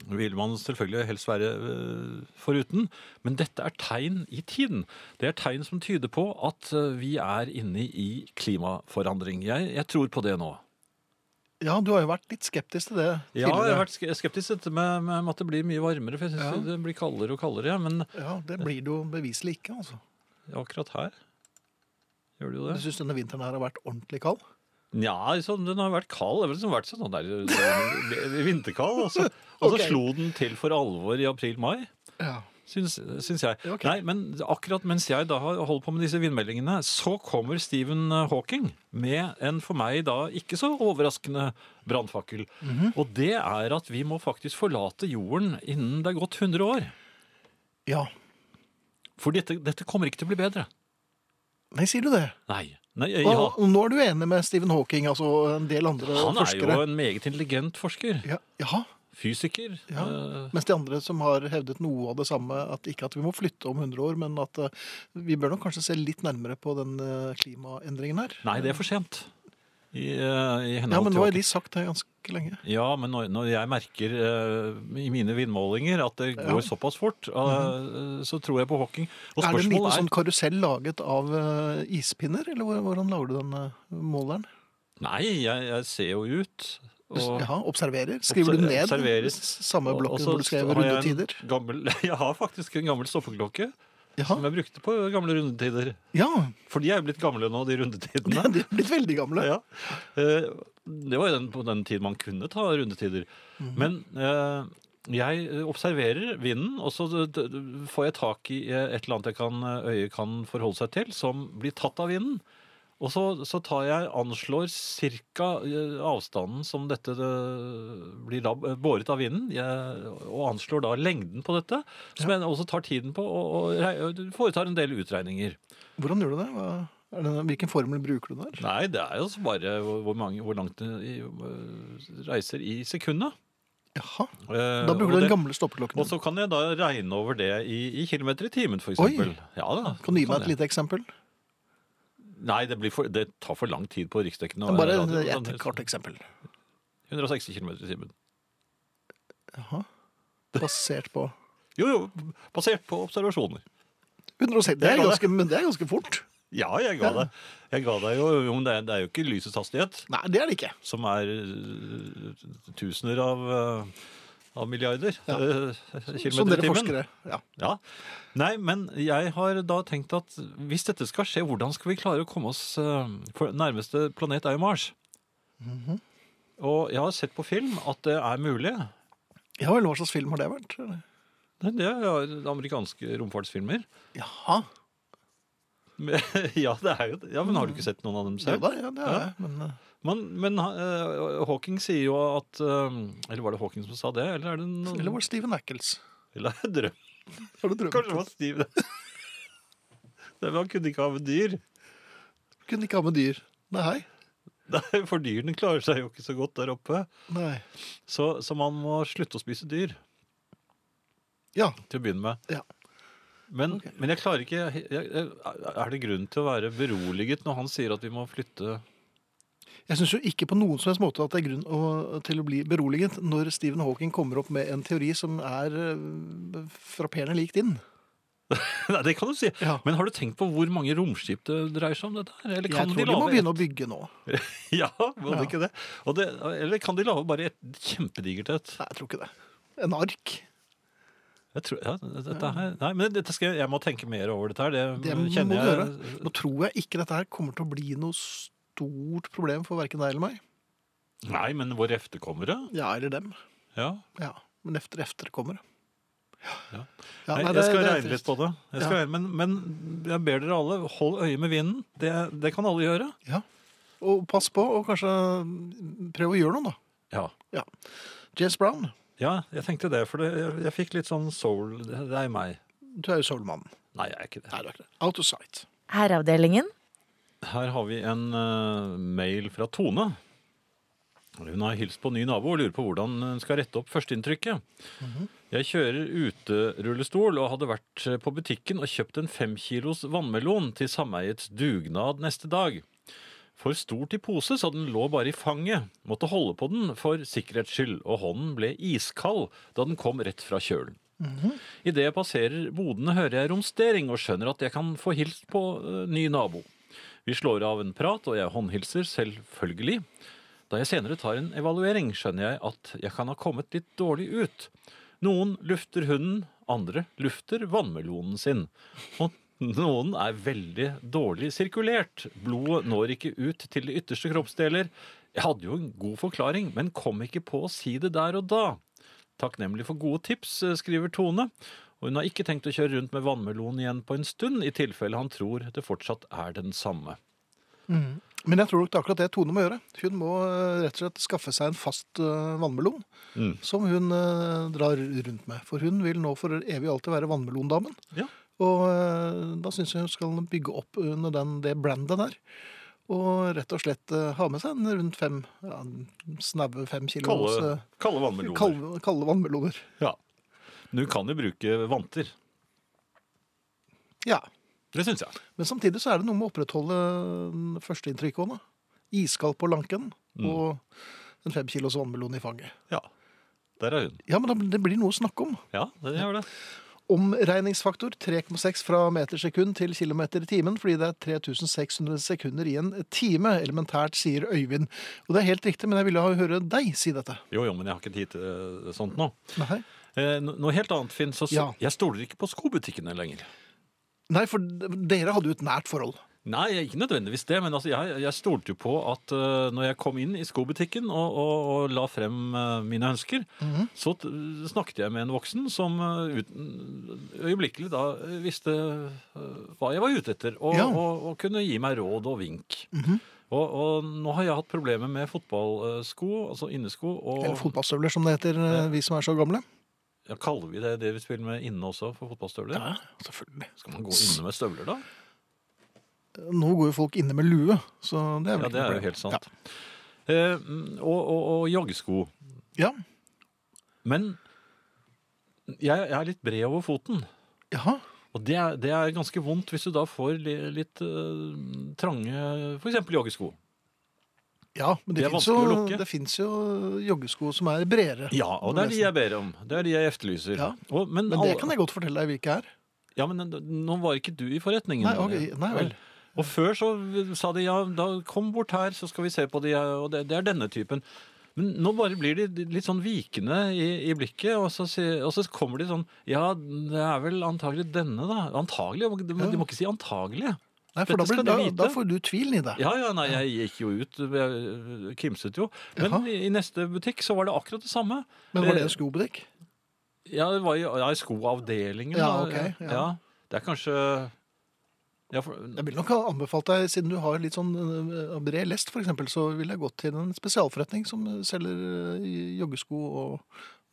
vil man selvfølgelig helst være øh, foruten. Men dette er tegn i tiden. Det er tegn som tyder på at øh, vi er inne i klimaforandring. Jeg, jeg tror på det nå.
ja, du har jo vært litt skeptisk til det
Ja, jeg har
tidligere.
vært ske- skeptisk til dette med, med med at det blir mye varmere, for jeg syns det blir kaldere og kaldere. ja, Men
Ja, det blir det jo beviselig ikke, altså.
akkurat her gjør det jo
Jeg
det.
syns denne vinteren her har vært ordentlig kald.
Nja, sånn, den har vært kald. Det har vel liksom vært sånn der, sånn [laughs] vinterkald. Og så, og så
Ok.
slo den til for alvor i april-mai.
Ja.
Syns, syns jeg.
Ok.
Nei, men akkurat mens jeg da har holdt på med disse vindmeldingene, så kommer Stephen eh, Hawking med en for meg da ikke så overraskende brannfakkel.
Mhm.
Og det er at vi må faktisk forlate jorden innen det er gått 100 år.
ja.
For dette, dette kommer ikke til å bli bedre.
Nei, sier du det?
Nei. Nei eh,
Og,
ja.
og nå er du enig med Stephen Hawking, altså og en del andre
Han er
forskere?
jo en meget intelligent forsker.
Ja, jaha.
Fysiker.
Ja.
eh,
Mens de andre som har hevdet noe av det samme, at ikke at vi må flytte om 100 år, men at eh, vi bør nok kanskje se litt nærmere på den eh, klimaendringen her.
Nei, det er for sent. I, eh, i henhold
Ja, men
til
nå
Hawking.
har de sagt det ganske lenge.
Ja, men når, når jeg merker eh, i mine vindmålinger at det går såpass fort, eh, så tror jeg på Hawking. Og
Mhm. Er det en liten
spørsmålet er,
sånn karusell laget av eh, ispinner, eller hvor- hvordan lager du den eh, måleren?
Nei, jeg, jeg ser jo ut og-
Jaha, observerer. Skriver du
Obser-
ned
observerer.
s- samme
og- og
blokken
så
hvor du skrev
har jeg en
rundetider?
Gammel, [laughs] jeg har faktisk en gammel stoffeklokke som
Jaha.
jeg brukte på gamle rundetider.
Ja,
For de er jo blitt gamle nå, de rundetidene.
de er blitt veldig gamle.
Ja. Eh, Det var jo den, på den tiden man kunne ta rundetider. Men eh, jeg observerer vinden, og så eh, d- d- får jeg tak i eh, et eller annet jeg kan, eh, øyet kan forholde seg til, som blir tatt av vinden. Og så, så tar jeg, anslår ca. avstanden som dette eh, blir da båret av vinden, jeg, og anslår da lengden på dette, som jeg også tar tiden på, og, og rei- foretar en del utregninger.
Hvordan gjør du det? Hva, er det? Hvilken formel bruker du der?
Nei, det er jo så bare hvor, hvor, mange, hvor langt det i- øh, reiser i sekundet.
Jaha.
Eh,
Da
og
bruker du
det-
den gamle stoppeklokken.
Og
din.
så kan jeg da regne over det i, i kilometer i timen, for
Oi.
eksempel. Sånn, Ja, da,
Kan du gi meg
kan
et
jeg.
lite eksempel?
Nei, det, blir for, det tar for lang tid på riksdekkende.
Men bare
radio.
et kort
[laughs]
eksempel.
160 kilometer i timen.
Jaha. Basert på
Jo, jo, basert på observasjoner.
160. Det
er
er
bra,
ganske, men det er ganske fort.
Ja, jeg ga deg. Jeg ga deg jo, jo, men det er, det er jo ikke lysets hastighet,
Nei, det er det ikke.
som er øh, tusener av, øh, av milliarder
Ja.
øh,
Som
kilometer i
dere
timen.
forskere. Ja.
Ja. Nei, men jeg har da tenkt at hvis dette skal skje, hvordan skal vi klare å komme oss eh, For nærmeste planet er jo Mars.
Mhm.
Og jeg har sett på film at det er mulig.
ja vel, hva slags film har det vært?
Det det er amerikanske romfartsfilmer. [laughs]
Jaha.
Men- Ja, det er jo, ja, men har du ikke sett noen av dem
Jo
selv?
da, ja, det er det. Men eh,
Men, men eh, Hawking sier jo at eh, Eller var det Hawking som sa det? Eller er det noen
eller var det Steven Ackles?
[laughs] Eller er det drøm?
Har du drømt?
Kanskje det var Steve. [laughs] Nei, men han kunne ikke ha med dyr.
Kunne ikke ha med dyr. Nei.
Nei, For dyrene klarer seg jo ikke så godt der oppe.
Nei.
Så, så man må slutte å spise dyr
Ja.
til å begynne med.
Ja.
Men,
Ok.
men jeg klarer ikke jeg, jeg, Er det grunn til å være beroliget når han sier at vi må flytte [laughs]
Jeg syns jo ikke på noen som helst måte at det er grunn å, til å bli beroliget når Stephen Hawking kommer opp med en teori som er eh, frapperende lik din.
Nei, det kan du si.
Ja.
Men har du tenkt på hvor mange romskip det dreier seg om? dette her? Eller kan
Jeg tror de må
lage
begynne å bygge nå.
[laughs] Ja, må
Ja.
det ikke det? Og det? Eller kan de lage bare et kjempedigert et?
Nei, jeg tror ikke det. En ark.
Jeg tror, ja, dette her, nei, men dette skal, jeg- jeg må tenke mer over dette her. Det,
Det må du
kjenner
gjøre.
jeg.
Nå tror jeg ikke dette her kommer til å bli noe stort problem for verken deg eller meg.
Nei, men våre efterkommere?
Ja, eller dem.
Ja.
Ja, Men efter efterkommere.
Ja.
Ja,
Nei,
nei,
jeg
det-
skal
det er
regne litt
trist.
på det. Jeg skal
Ja.
regne, men, men jeg ber dere alle, hold øye med vinden. Det, det kan alle gjøre.
Ja. Og pass på, og kanskje prøv å gjøre noe, da.
Ja.
James Brown,
ja, jeg tenkte det, for det, jeg, jeg fikk litt sånn soul Det det er meg.
du er jo soulmannen.
Nei, jeg er ikke det.
Nei, du er ikke det. Out of sight.
Herreavdelingen.
Her har vi en eh, mail fra Tone. Hun har hilst på ny nabo og lurer på hvordan hun skal rette opp førsteinntrykket. Jeg kjører uterullestol og hadde vært eh, på butikken og kjøpt en femkilos vannmelon til sameiets dugnad neste dag. For stor til pose, så den lå bare i fanget. Måtte holde på den for sikkerhets skyld, og hånden ble iskald da den kom rett fra kjølen. Idet jeg passerer bodene, hører jeg romstering og skjønner at jeg kan få hilst på eh, ny nabo. Vi slår av en prat, og jeg håndhilser, selvfølgelig. Da jeg senere tar en evaluering, skjønner jeg at jeg kan ha kommet litt dårlig ut. Noen lufter hunden, andre lufter vannmelonen sin. Og noen er veldig dårlig sirkulert. Blodet når ikke ut til de ytterste kroppsdeler. Jeg hadde jo en god forklaring, men kom ikke på å si det der og da. Takknemlig for gode tips, eh, skriver Tone. Og hun har ikke tenkt å kjøre rundt med vannmelon igjen på en stund, i tilfelle han tror det fortsatt er den samme.
Men jeg tror nok det er akkurat det Tone må gjøre. Hun må eh, rett og slett skaffe seg en fast eh, vannmelon
Mm.
som hun eh, drar rundt med. For hun vil nå for evig alltid være vannmelondamen.
Ja.
Og eh, da syns jeg hun skal bygge opp under den, det brandet der. Og rett og slett eh, ha med seg en rundt fem, ja, snaue fem kilos
Kalle,
eh,
kalle vannmeloner.
kalde, kalde vannmeloner.
Ja. Men du kan jo bruke vanter.
Ja.
Det syns jeg.
Men samtidig så er det noe med å opprettholde mm, førsteinntrykket òg, da. Iskald på lanken
Mm.
og en fem kilos vannmelon i fanget.
Ja. Der er hun.
Ja, men da- det blir noe å snakke om.
Ja, det gjør det.
Omregningsfaktor 3,6 fra metersekund til kilometer i timen, fordi det er 3600 sekunder i en time, elementært, sier Øyvind. Og det er helt riktig, men jeg ville ha- høre deg si dette.
Jo, jo, men jeg har ikke tid til eh, sånt nå.
Nei,
Eh, no- noe helt annet, Finn. Så, så,
Ja.
Jeg stoler ikke på skobutikkene lenger.
Nei for dere hadde jo et nært forhold.
Nei, ikke nødvendigvis det, men altså, jeg, jeg stolte jo på at eh, når jeg kom inn i skobutikken og, og, og la frem eh, mine ønsker,
Mhm.
så t snakket jeg med en voksen som eh, uten, øyeblikkelig da eh, visste eh, hva jeg var ute etter, og,
Ja. Mhm.
og, og kunne gi meg råd og vink. og, og nå har jeg hatt problemer med fotballsko, altså innesko, og
Eller fotballstøvler, som det heter, eh, vi som er så gamle.
ja, kaller vi det det vi spiller med inne også, for fotballstøvler?
selvfølgelig.
Skal man gå inne med støvler da?
Nå går jo folk inne med lue, så det er vel ikke
Ja,
noe
det er jo
problem.
helt sant. Eh, mm, og, og, og joggesko.
Ja.
Men jeg, jeg er litt bred over foten.
Ja. Jaha.
Og det er, det er ganske vondt hvis du da får li, litt eh, trange f.eks. joggesko.
Ja, men det,
Det er
finnes
vanskelig å
jo,
lukke.
det fins jo joggesko som er bredere.
Ja, og det er de jeg ber om. Det er de jeg efterlyser.
Ja.
Og, men,
Men det
alle-
kan jeg godt fortelle deg hvilke er.
Ja, men nå var ikke du i forretningen. eh,
Nei, ok, nei vel.
Og før så sa de ja, da kom bort her, så skal vi se på de, og det, det er denne typen. Men nå bare blir de litt sånn vikende i, i blikket, og så, sier- og så kommer de sånn Ja, det er vel antagelig denne, da. Antagelig? De, må- de må ikke si antagelig.
Nei, for
Dette
da, blir,
skal de
da,
vite.
da får du tvilen i deg.
Ja, ja, nei, jeg gikk jo ut, jeg kimset jo. Men
Jaha.
i, i neste butikk så var det akkurat det samme.
Men var det
Eh,
en skobutikk?
ja, det var i, ja, i skoavdelingen.
Ja,
da.
ok, ja.
Det er kanskje ja, for,
Jeg ville nok ha anbefalt deg, siden du har litt sånn eh, bred lest f.eks., så ville jeg gått til en spesialforretning som selger eh, joggesko og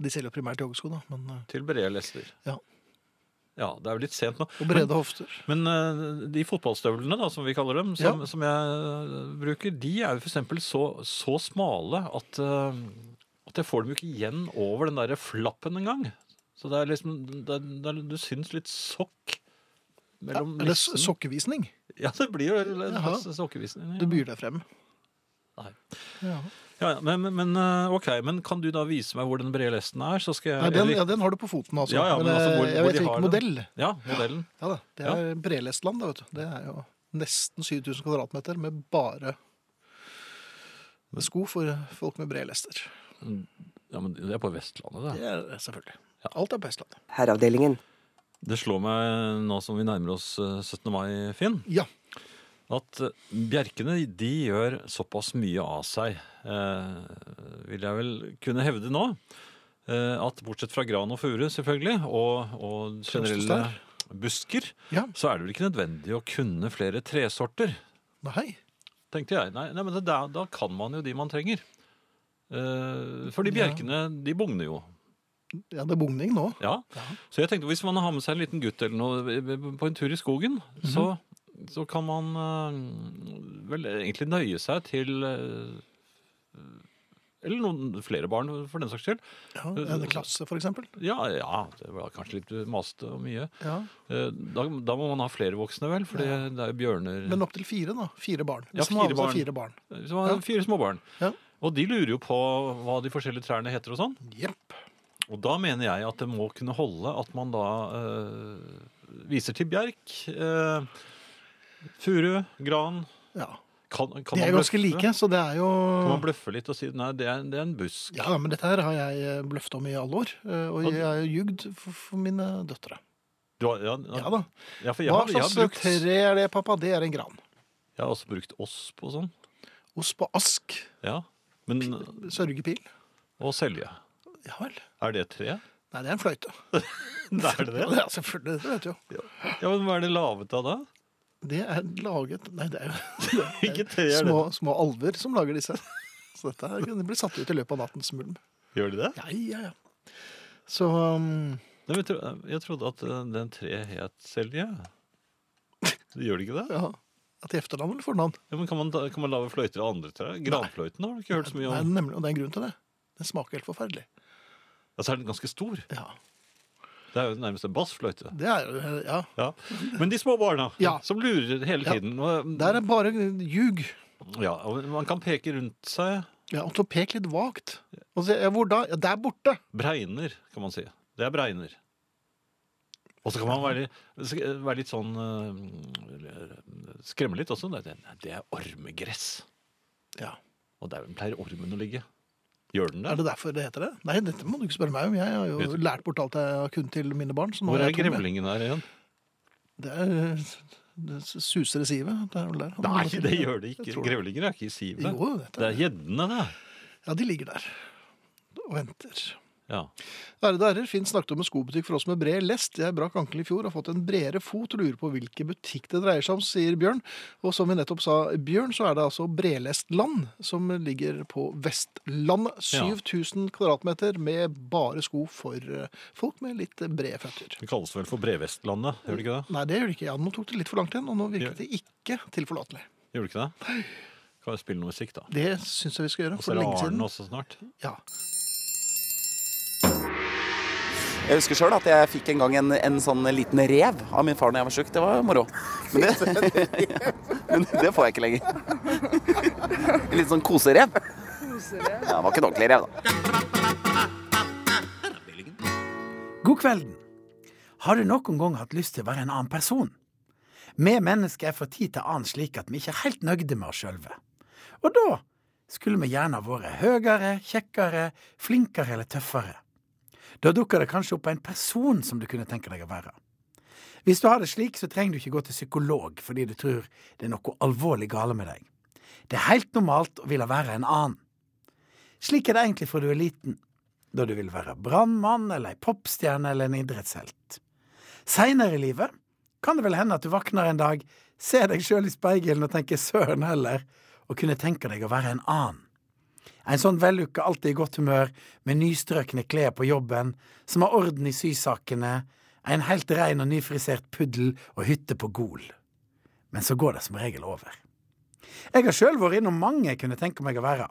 De selger jo primært joggesko, da, men, eh,
Til brede lester.
Ja.
Ja, det er jo litt sent nå.
og brede hofter.
Men eh, de fotballstøvlene, da, som vi kaller dem, som, som jeg eh, bruker, de er jo for eksempel så, så smale at, eh, at jeg får dem jo ikke igjen over den derre flappen engang. Så det er liksom det, er- det, er- Du syns litt sokk
Ja,
mellom
eller s-
nissen.
sokkevisning.
Ja, det blir jo en
Jaha.
slags sokkevisning.
Du byr deg frem.
Nei.
Ja.
Ja, ja, men, men- men, eh, ok, men kan du da vise meg hvor den brede lesten er? Så skal jeg,
Nei, den,
eller-
ja, den har du på foten, altså.
Ja, ja, men altså,
eh, jeg
hvor- hvor
vet
de
ikke
har den.
modell.
ja, modellen.
Ja da, Det er Brelestland, da, vet du. Det er jo nesten 7000 kvadratmeter med bare sko for folk med brede lester.
Ja, men det er på Vestlandet, det.
Det er det selvfølgelig. Alt er på Estland.
Herreavdelingen.
Det slår meg nå som vi nærmer oss eh, 17. mai, Finn,
Ja.
at eh, bjerkene de gjør såpass mye av seg, eh, vil jeg vel kunne hevde nå, eh, at bortsett fra gran og furu selvfølgelig, og, og generelle
Trøstestær.
busker,
Ja.
så er det vel ikke nødvendig å kunne flere tresorter,
Nei.
tenkte jeg. Nei, nei men da, da kan man jo de man trenger. Eh, fordi
Ja.
bjerkene, de bugner jo.
Ja, det er bugning nå.
Ja. Så jeg tenkte hvis man har med seg en liten gutt eller noe på en tur i skogen,
Mhm.
så, så kan man øh, vel egentlig nøye seg til øh, Eller noen flere barn, for den saks skyld.
Ja, en klasse, for eksempel.
Ja, ja, det var kanskje litt masete og mye.
Ja.
Eh, Da, da må man ha flere voksne, vel, for det er jo bjørner
Men opptil fire, da. Fire barn.
Ja,
Hvis man har
fire
med seg
barn.
Fire barn.
Så man har
Ja.
Fire små barn.
Ja.
Og de lurer jo på hva de forskjellige trærne heter og sånn.
Jepp.
Og da mener jeg at det må kunne holde at man da eh, viser til bjerk, eh, furu, gran.
Ja.
Kan, kan
De er
man
ganske
bløffe?
like, så det er jo
Kan man bløffe litt og si nei, det er, det er en busk.
ja, men dette her har jeg bløffet om i alle år, eh, og
Og-
jeg har ljugd for, for mine døtre.
Du har, ja,
Ja da.
Ja, for jeg,
Hva
har- jeg,
slags
har brukt, jeg
tre er det, pappa? Det er en gran.
har også brukt osp og sånn.
Ost på ask.
Ja. Men,
Sørgepil.
og selje.
Ja vel.
Er det tre?
Nei, det er en [laughs] fløyte.
Det er det
Ja,
det?
det er selvfølgelig, det vet du jo.
Ja, men Hva er det laget av da?
Det er laget Nei, det er jo [laughs]
Hvilke tre er
små, små alver som lager disse. Så dette her kunne bli satt ut i løpet av nattens mulm.
det? Gjør de det?
Ja, ja, ja. Så um,
Nei, men jeg tro- jeg trodde at eh, den tre het selje.
[laughs]
Gjør det ikke det?
ja. At i efternavn eller fornavn?
Ja, men kan man, ta- kan man lage fløyter av andre trær? Granfløyten har du ikke hørt så mye
Nei,
om.
nemlig, og det er en grunn til det. Den smaker helt forferdelig.
Altså er den ganske stor.
Ja.
Det er jo nærmest en bassfløyte.
Det er jo Ja.
Ja. Men de små barna
Ja.
som lurer hele
Ja.
tiden. og- mm,
Der er bare ljug.
Ja, og man kan peke rundt seg.
Ja, og til å peke litt vagt. Og se, ja, hvor da? Ja, der borte!
Bregner, kan man si. Det er bregner. Og så kan man være, litt- være litt sånn eh, Skremme litt også. Det, er- det er ormegress.
Ja.
Og der pleier ormen å ligge. Gjør den
Er
det?
det derfor det heter det? Nei, dette må du ikke spørre meg om. Jeg har jo
Vet-
lært bort alt jeg har kunnet til mine barn. Så nå
Hvor
har
er
jeg to med.
grevlingen her igjen?
Det er det suser i sivet. Det er vel der.
Nei, det gjør det
Jeg
ikke.
tror
Grevlinger er ikke i sivet.
Jo, vet du.
Det er gjeddene, det.
Ja, de ligger der og venter.
Ja.
Ærede ærer, Finn snakket om en skobutikk for oss med bred lest. Jeg brakk ankelen i fjor og har fått en bredere fot og lurer på hvilken butikk det dreier seg om, sier Bjørn. Og som vi nettopp sa, Bjørn, så er det altså Brelestland som ligger på Vestlandet.
Ja.
7000 kvadratmeter med bare sko for eh, folk med litt eh, brede føtter.
Det kalles vel for Brevestlandet, gjør det ikke det?
Nei, det gjør det ikke. Ja, nå tok det litt for langt igjen, og nå virket det ikke tilforlatelig.
Gjør det ikke det? Kan vi spille noe musikk, da?
Det syns jeg vi skal gjøre.
Og så
For
er det
lenge siden.
Arne også snart.
Ja.
Jeg husker sjøl at jeg fikk en gang en, en sånn liten rev av min far da jeg var sjuk. Det var moro. Men det, [laughs] men det får jeg ikke lenger. En liten sånn koserev. Ja, det var ikke en ordentlig rev, da.
God kvelden. Har du noen gang hatt lyst til å være en annen person? Vi mennesker er fra tid til annen slik at vi ikke er helt nøyde med oss sjølve. Og da skulle vi gjerne vært høyere, kjekkere, flinkere eller tøffere. Da dukker det kanskje opp en person som du kunne tenke deg å være. Hvis du har det slik, så trenger du ikke gå til psykolog fordi du tror det er noe alvorlig gale med deg. Det er helt normalt å ville være en annen. Slik er det egentlig fra du er liten da du vil være brannmann eller ei popstjerne eller en idrettshelt. Seinere i livet kan det vel hende at du våkner en dag, ser deg sjøl i speilet og tenker søren heller, og kunne tenke deg å være en annen. En sånn vellukka, alltid i godt humør, med nystrøkne klær på jobben, som har orden i sysakene, en helt rein og nyfrisert puddel og hytte på Gol. Men så går det som regel over. Jeg har sjøl vært innom mange jeg kunne tenke meg å være.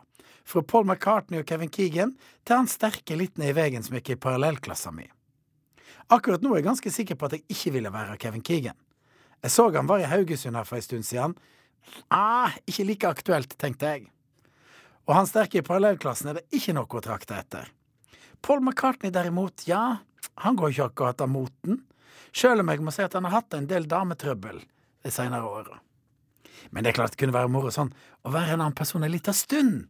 Fra Paul McCartney og Kevin Keegan til han sterke liten i veien som gikk i parallellklassa mi. Akkurat nå er jeg ganske sikker på at jeg ikke ville være Kevin Keegan. Jeg så han var i Haugesund her for en stund siden. Ah, ikke like aktuelt, tenkte jeg. Og han sterke i parallellklassen er det ikke noe å trakte etter. Paul McCartney derimot, ja, han går ikke akkurat av moten, sjøl om jeg må si at han har hatt en del dametrøbbel de seinere åra. Men det er klart det kunne være moro sånn å være en annen person en liten stund.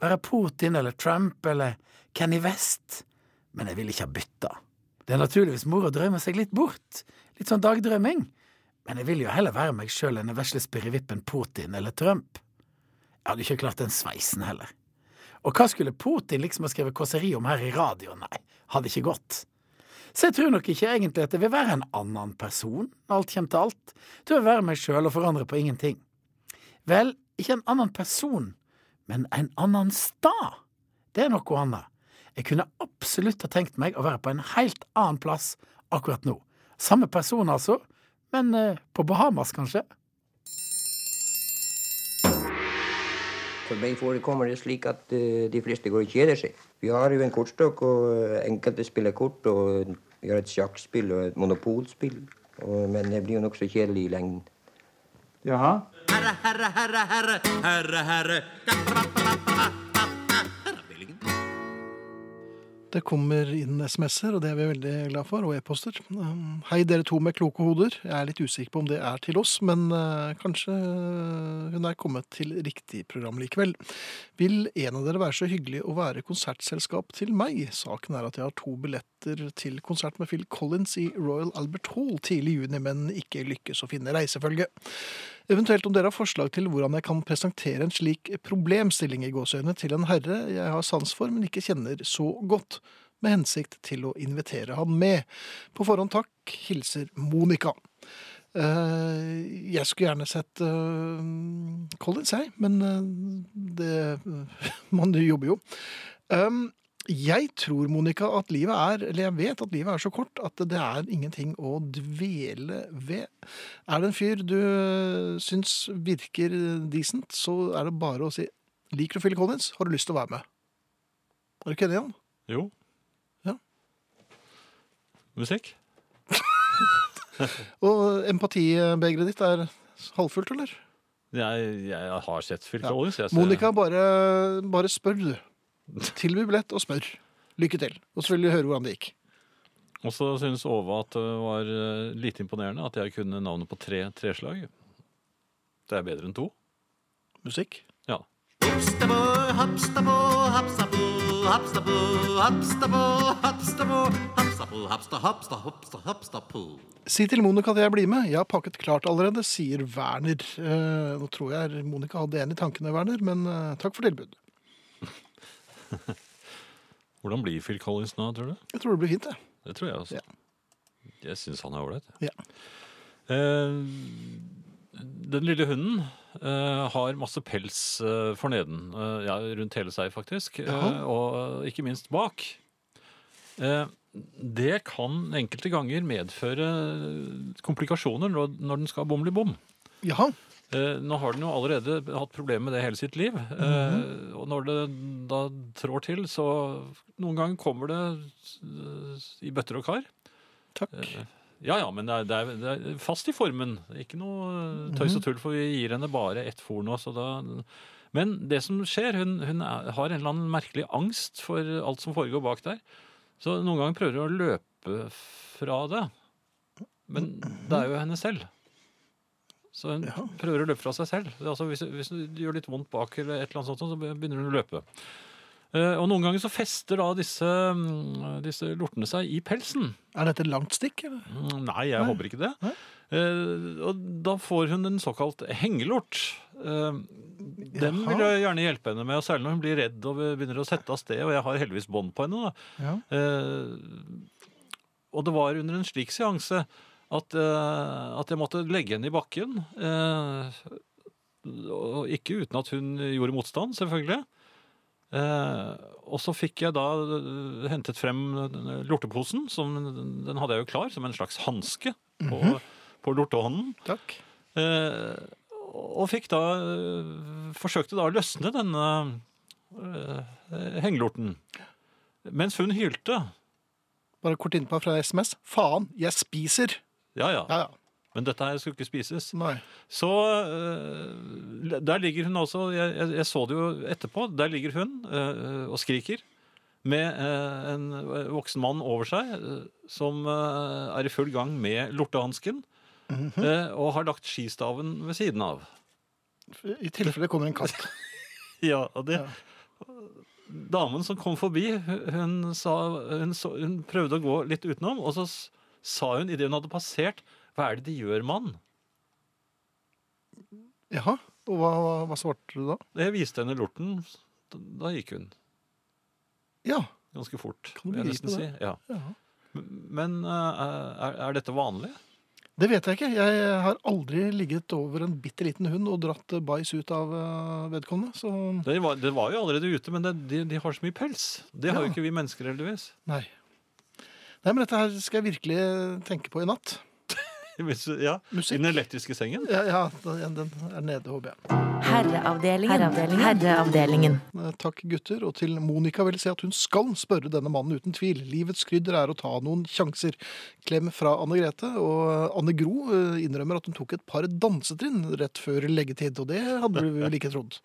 Være Putin eller Trump eller Kenny West. Men jeg vil ikke ha bytta. Det er naturligvis moro å drømme seg litt bort. Litt sånn dagdrømming. Men jeg vil jo heller være meg sjøl enn den vesle spirrevippen Putin eller Trump. Jeg hadde ikke klart den sveisen heller. Og hva skulle Putin liksom ha skrevet kåseri om her i radioen? Nei, hadde ikke gått. Så jeg tror nok ikke egentlig at jeg vil være en annen person, når alt kommer til alt. Jeg tror jeg vil være meg sjøl og forandre på ingenting. Vel, ikke en annen person, men en annen stad. Det er noe annet. Jeg kunne absolutt ha tenkt meg å være på en helt annen plass akkurat nå. Samme person, altså, men eh, på Bahamas, kanskje?
For meg forekommer det slik at eh, de fleste går og kjeder seg. Vi har jo en kortstokk, og eh, enkelte spiller kort. og Vi har et sjakkspill og et monopolspill. Og, men det blir jo nokså kjedelig i lengden.
Jaha.
Det kommer inn SMS-er, og det er vi veldig glad for, og e-poster. Um, Hei, dere to med kloke hoder. Jeg er litt usikker på om det er til oss, men eh, kanskje eh, hun er kommet til riktig program likevel. Vil en av dere være så hyggelig å være konsertselskap til meg? Saken er at jeg har to billetter til konsert med Phil Collins i Royal Albert Hall tidlig i juni, men ikke lykkes å finne reisefølge. Eventuelt om dere har forslag til hvordan jeg kan presentere en slik problemstilling i gåsøgne til en herre jeg har sans for, men ikke kjenner så godt, med hensikt til å invitere han med. På forhånd takk, hilser Monica. Eh, jeg skulle gjerne sett uh, Collins, jeg, men eh, det [laughs] Man jobber jo. Um, jeg tror, Monica, at livet er Eller jeg vet at livet er så kort at det er ingenting å dvele ved. Er det en fyr du øh, syns virker decent, så er det bare å si Liker du Phil Collins? Har du lyst til å være med? Er du ikke enig i han?
Jo.
Ja.
Musikk?
Og empatibegeret ditt er halvfullt, eller?
Jeg, jeg har sett Phil
Ja.
Collins. jeg ser-
Monica, bare, bare spør, du. Tilby billett og spør. Lykke til. Og så vil vi høre hvordan det gikk.
Og så syns Åva at det var eh, lite imponerende at jeg kunne navnet på tre treslag. Det er bedre enn to.
Musikk?
Ja.
Hapstabo, hapstabo, hapstabo, hapstabo, hapstabo, hapstabo, hapstabo, hapsta, hapsta, hapsta, hapstapo.
Si til Monica at jeg blir med. Jeg har pakket klart allerede, sier Werner. Eh, nå tror jeg Monica hadde en i tankene, Werner, men eh, takk for tilbudet.
Hvordan blir Phil Collins nå, tror du?
Jeg tror det blir fint, det.
Det tror jeg også. Jeg syns han er ålreit.
Ja.
Eh, den lille hunden eh, har masse pels eh, for neden. Eh, ja, rundt hele seg, faktisk. Eh,
Jaha.
og eh, ikke minst bak. Eh, det kan enkelte ganger medføre eh, komplikasjoner når, når den skal bomle bom.
Jaha.
Eh, nå har den jo allerede hatt problemer med det hele sitt liv. Eh,
Mhm.
og når det da trår til, så noen ganger kommer det eh, i bøtter og kar.
Takk.
ja, ja, men det er, det, er, det er fast i formen. Ikke noe eh, tøys og tull, for vi gir henne bare ett fôr nå. Så da men det som skjer, hun, hun er, har en eller annen merkelig angst for alt som foregår bak der. Så noen ganger prøver hun å løpe fra det. Men det er jo henne selv. Så hun prøver å løpe fra seg selv. Altså, hvis, hvis det gjør litt vondt bak, eller et eller annet sånt, så begynner hun å løpe. Eh, og noen ganger så fester da disse, mm, disse lortene seg i pelsen.
Er dette langt stikk? Eller?
Mm, Nei, jeg håper ikke det. Eh, og da får hun en såkalt hengelort. Eh, den vil jeg gjerne hjelpe henne med, og særlig når hun blir redd og begynner å sette av sted. Og jeg har heldigvis bånd på henne. da.
Ja.
Eh, og det var under en slik seanse at, eh, at jeg måtte legge henne i bakken. eh, og ikke uten at hun gjorde motstand, selvfølgelig. Eh, og så fikk jeg da eh, hentet frem eh, lorteposen. Som, den hadde jeg jo klar som en slags hanske på,
Mhm.
på lortehånden.
Takk.
Eh, og fikk da eh, Forsøkte da å løsne denne eh, hengelorten. Mens hun hylte.
Bare kort innpå fra SMS. Faen, jeg spiser!
Ja, ja. Men dette her skulle ikke spises.
Nei.
Så øh, der ligger hun altså jeg, jeg, jeg så det jo etterpå. Der ligger hun øh, og skriker. Med øh, en voksen mann over seg øh, som øh, er i full gang med lortehansken. øh, og har lagt skistaven ved siden av.
I tilfelle det kommer en [laughs] katt.
Ja, og det... Damen som kom forbi, hun, sa, hun, så, hun prøvde å gå litt utenom, og så s- sa hun idet hun hadde passert, hva er det de gjør, mann?
Jaha. Og hva, hva svarte du da?
Jeg viste henne lorten, da, da gikk hun.
Ja.
Ganske fort,
du
vil jeg
begripe
nesten si.
det?
Ja.
Jaha.
Men eh, er, er dette vanlig?
Det vet jeg ikke. Jeg har aldri ligget over en bitte liten hund og dratt eh, bæsj ut av eh, vedkommende. Så
Det var, det var jo allerede ute, men det, de, de har så mye pels. Det har
Ja.
jo ikke vi mennesker, heldigvis. [laughs]
nei. Nei, men dette her skal jeg virkelig tenke på i natt.
Hvis- Ja, I den elektriske sengen.
Ja, ja den den er nede, håper jeg.
Herreavdelingen. Herreavdelingen.
Eh, Takk, gutter. Og til Monica vil jeg si at hun skal spørre denne mannen uten tvil. Livets krydder er å ta noen sjanser. Klem fra Anne Grete. Og Anne Gro eh, innrømmer at hun tok et par dansetrinn rett før leggetid, og det hadde vi vel ikke trodd.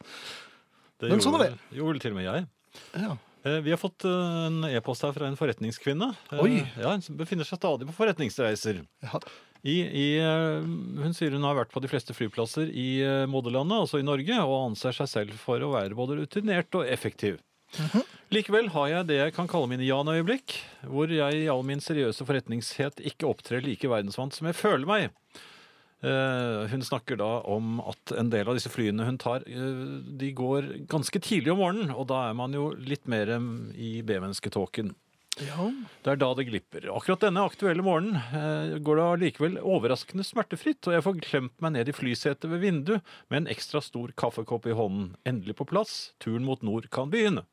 Det
Men sånn er
gjorde, gjorde til og med jeg.
Ja.
Eh, Vi har fått eh, en e-post her fra en forretningskvinne. Eh,
Oi.
Ja, Hun befinner seg stadig på forretningsreiser. I, i, eh, hun sier hun har vært på de fleste flyplasser i eh, moderlandet, altså i Norge, og anser seg selv for å være både rutinert og effektiv. Likevel har jeg det jeg kan kalle mine Jan-øyeblikk, hvor jeg i all min seriøse forretningshet ikke opptrer like verdensvant som jeg føler meg. Eh, Hun snakker da om at en del av disse flyene hun tar, eh, de går ganske tidlig om morgenen, og da er man jo litt mer eh, i B-mennesketåken.
Ja.
Det er da det glipper. Akkurat denne aktuelle morgenen eh, går det allikevel overraskende smertefritt, og jeg får klemt meg ned i flysetet ved vinduet med en ekstra stor kaffekopp i hånden. Endelig på plass. Turen mot nord kan begynne.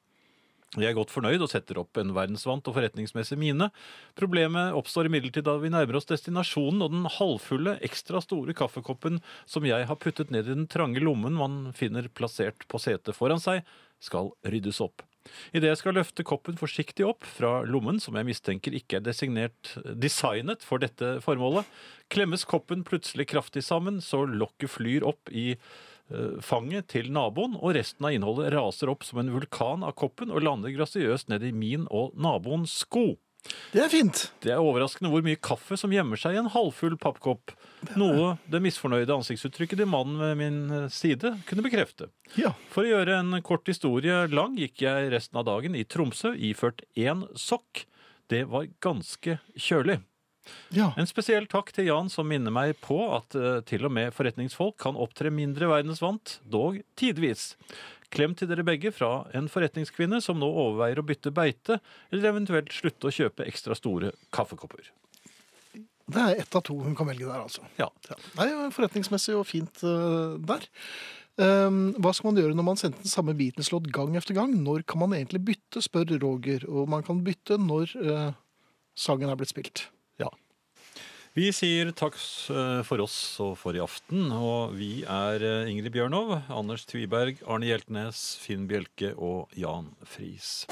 Jeg er godt fornøyd og setter opp en verdensvant og forretningsmessig mine. Problemet oppstår imidlertid da vi nærmer oss destinasjonen og den halvfulle, ekstra store kaffekoppen som jeg har puttet ned i den trange lommen man finner plassert på setet foran seg, skal ryddes opp. Idet jeg skal løfte koppen forsiktig opp fra lommen, som jeg mistenker ikke er designert, designet for dette formålet, klemmes koppen plutselig kraftig sammen, så lokket flyr opp i eh, fanget til naboen, og resten av innholdet raser opp som en vulkan av koppen og lander grasiøst ned i min og naboens sko.
Det er fint.
Det er overraskende hvor mye kaffe som gjemmer seg i en halvfull pappkopp. Noe det misfornøyde ansiktsuttrykket til mannen ved min eh, side kunne bekrefte. For å gjøre en kort historie lang gikk jeg resten av dagen i Tromsø iført én sokk. Det var ganske kjølig. En spesiell takk til Jan som minner meg på at eh, til og med forretningsfolk kan opptre mindre verdensvant, dog tidvis. Klem til dere begge fra en forretningskvinne som nå overveier å bytte beite, eller eventuelt slutte å kjøpe ekstra store kaffekopper.
Det er ett av to hun kan velge der, altså.
Ja.
Nei, forretningsmessig og fint eh, der. Ehm, hva skal man gjøre når man sendte den samme Beatles-låt gang etter gang? Når kan man egentlig bytte, spør Roger. Og man kan bytte når eh, sangen er blitt spilt.
Vi sier takk eh, for oss og for i aften, og vi er eh, Ingrid Bjørnov, Anders Tviberg, Arne Hjeltnes, Finn Bjelke og Jan Friis.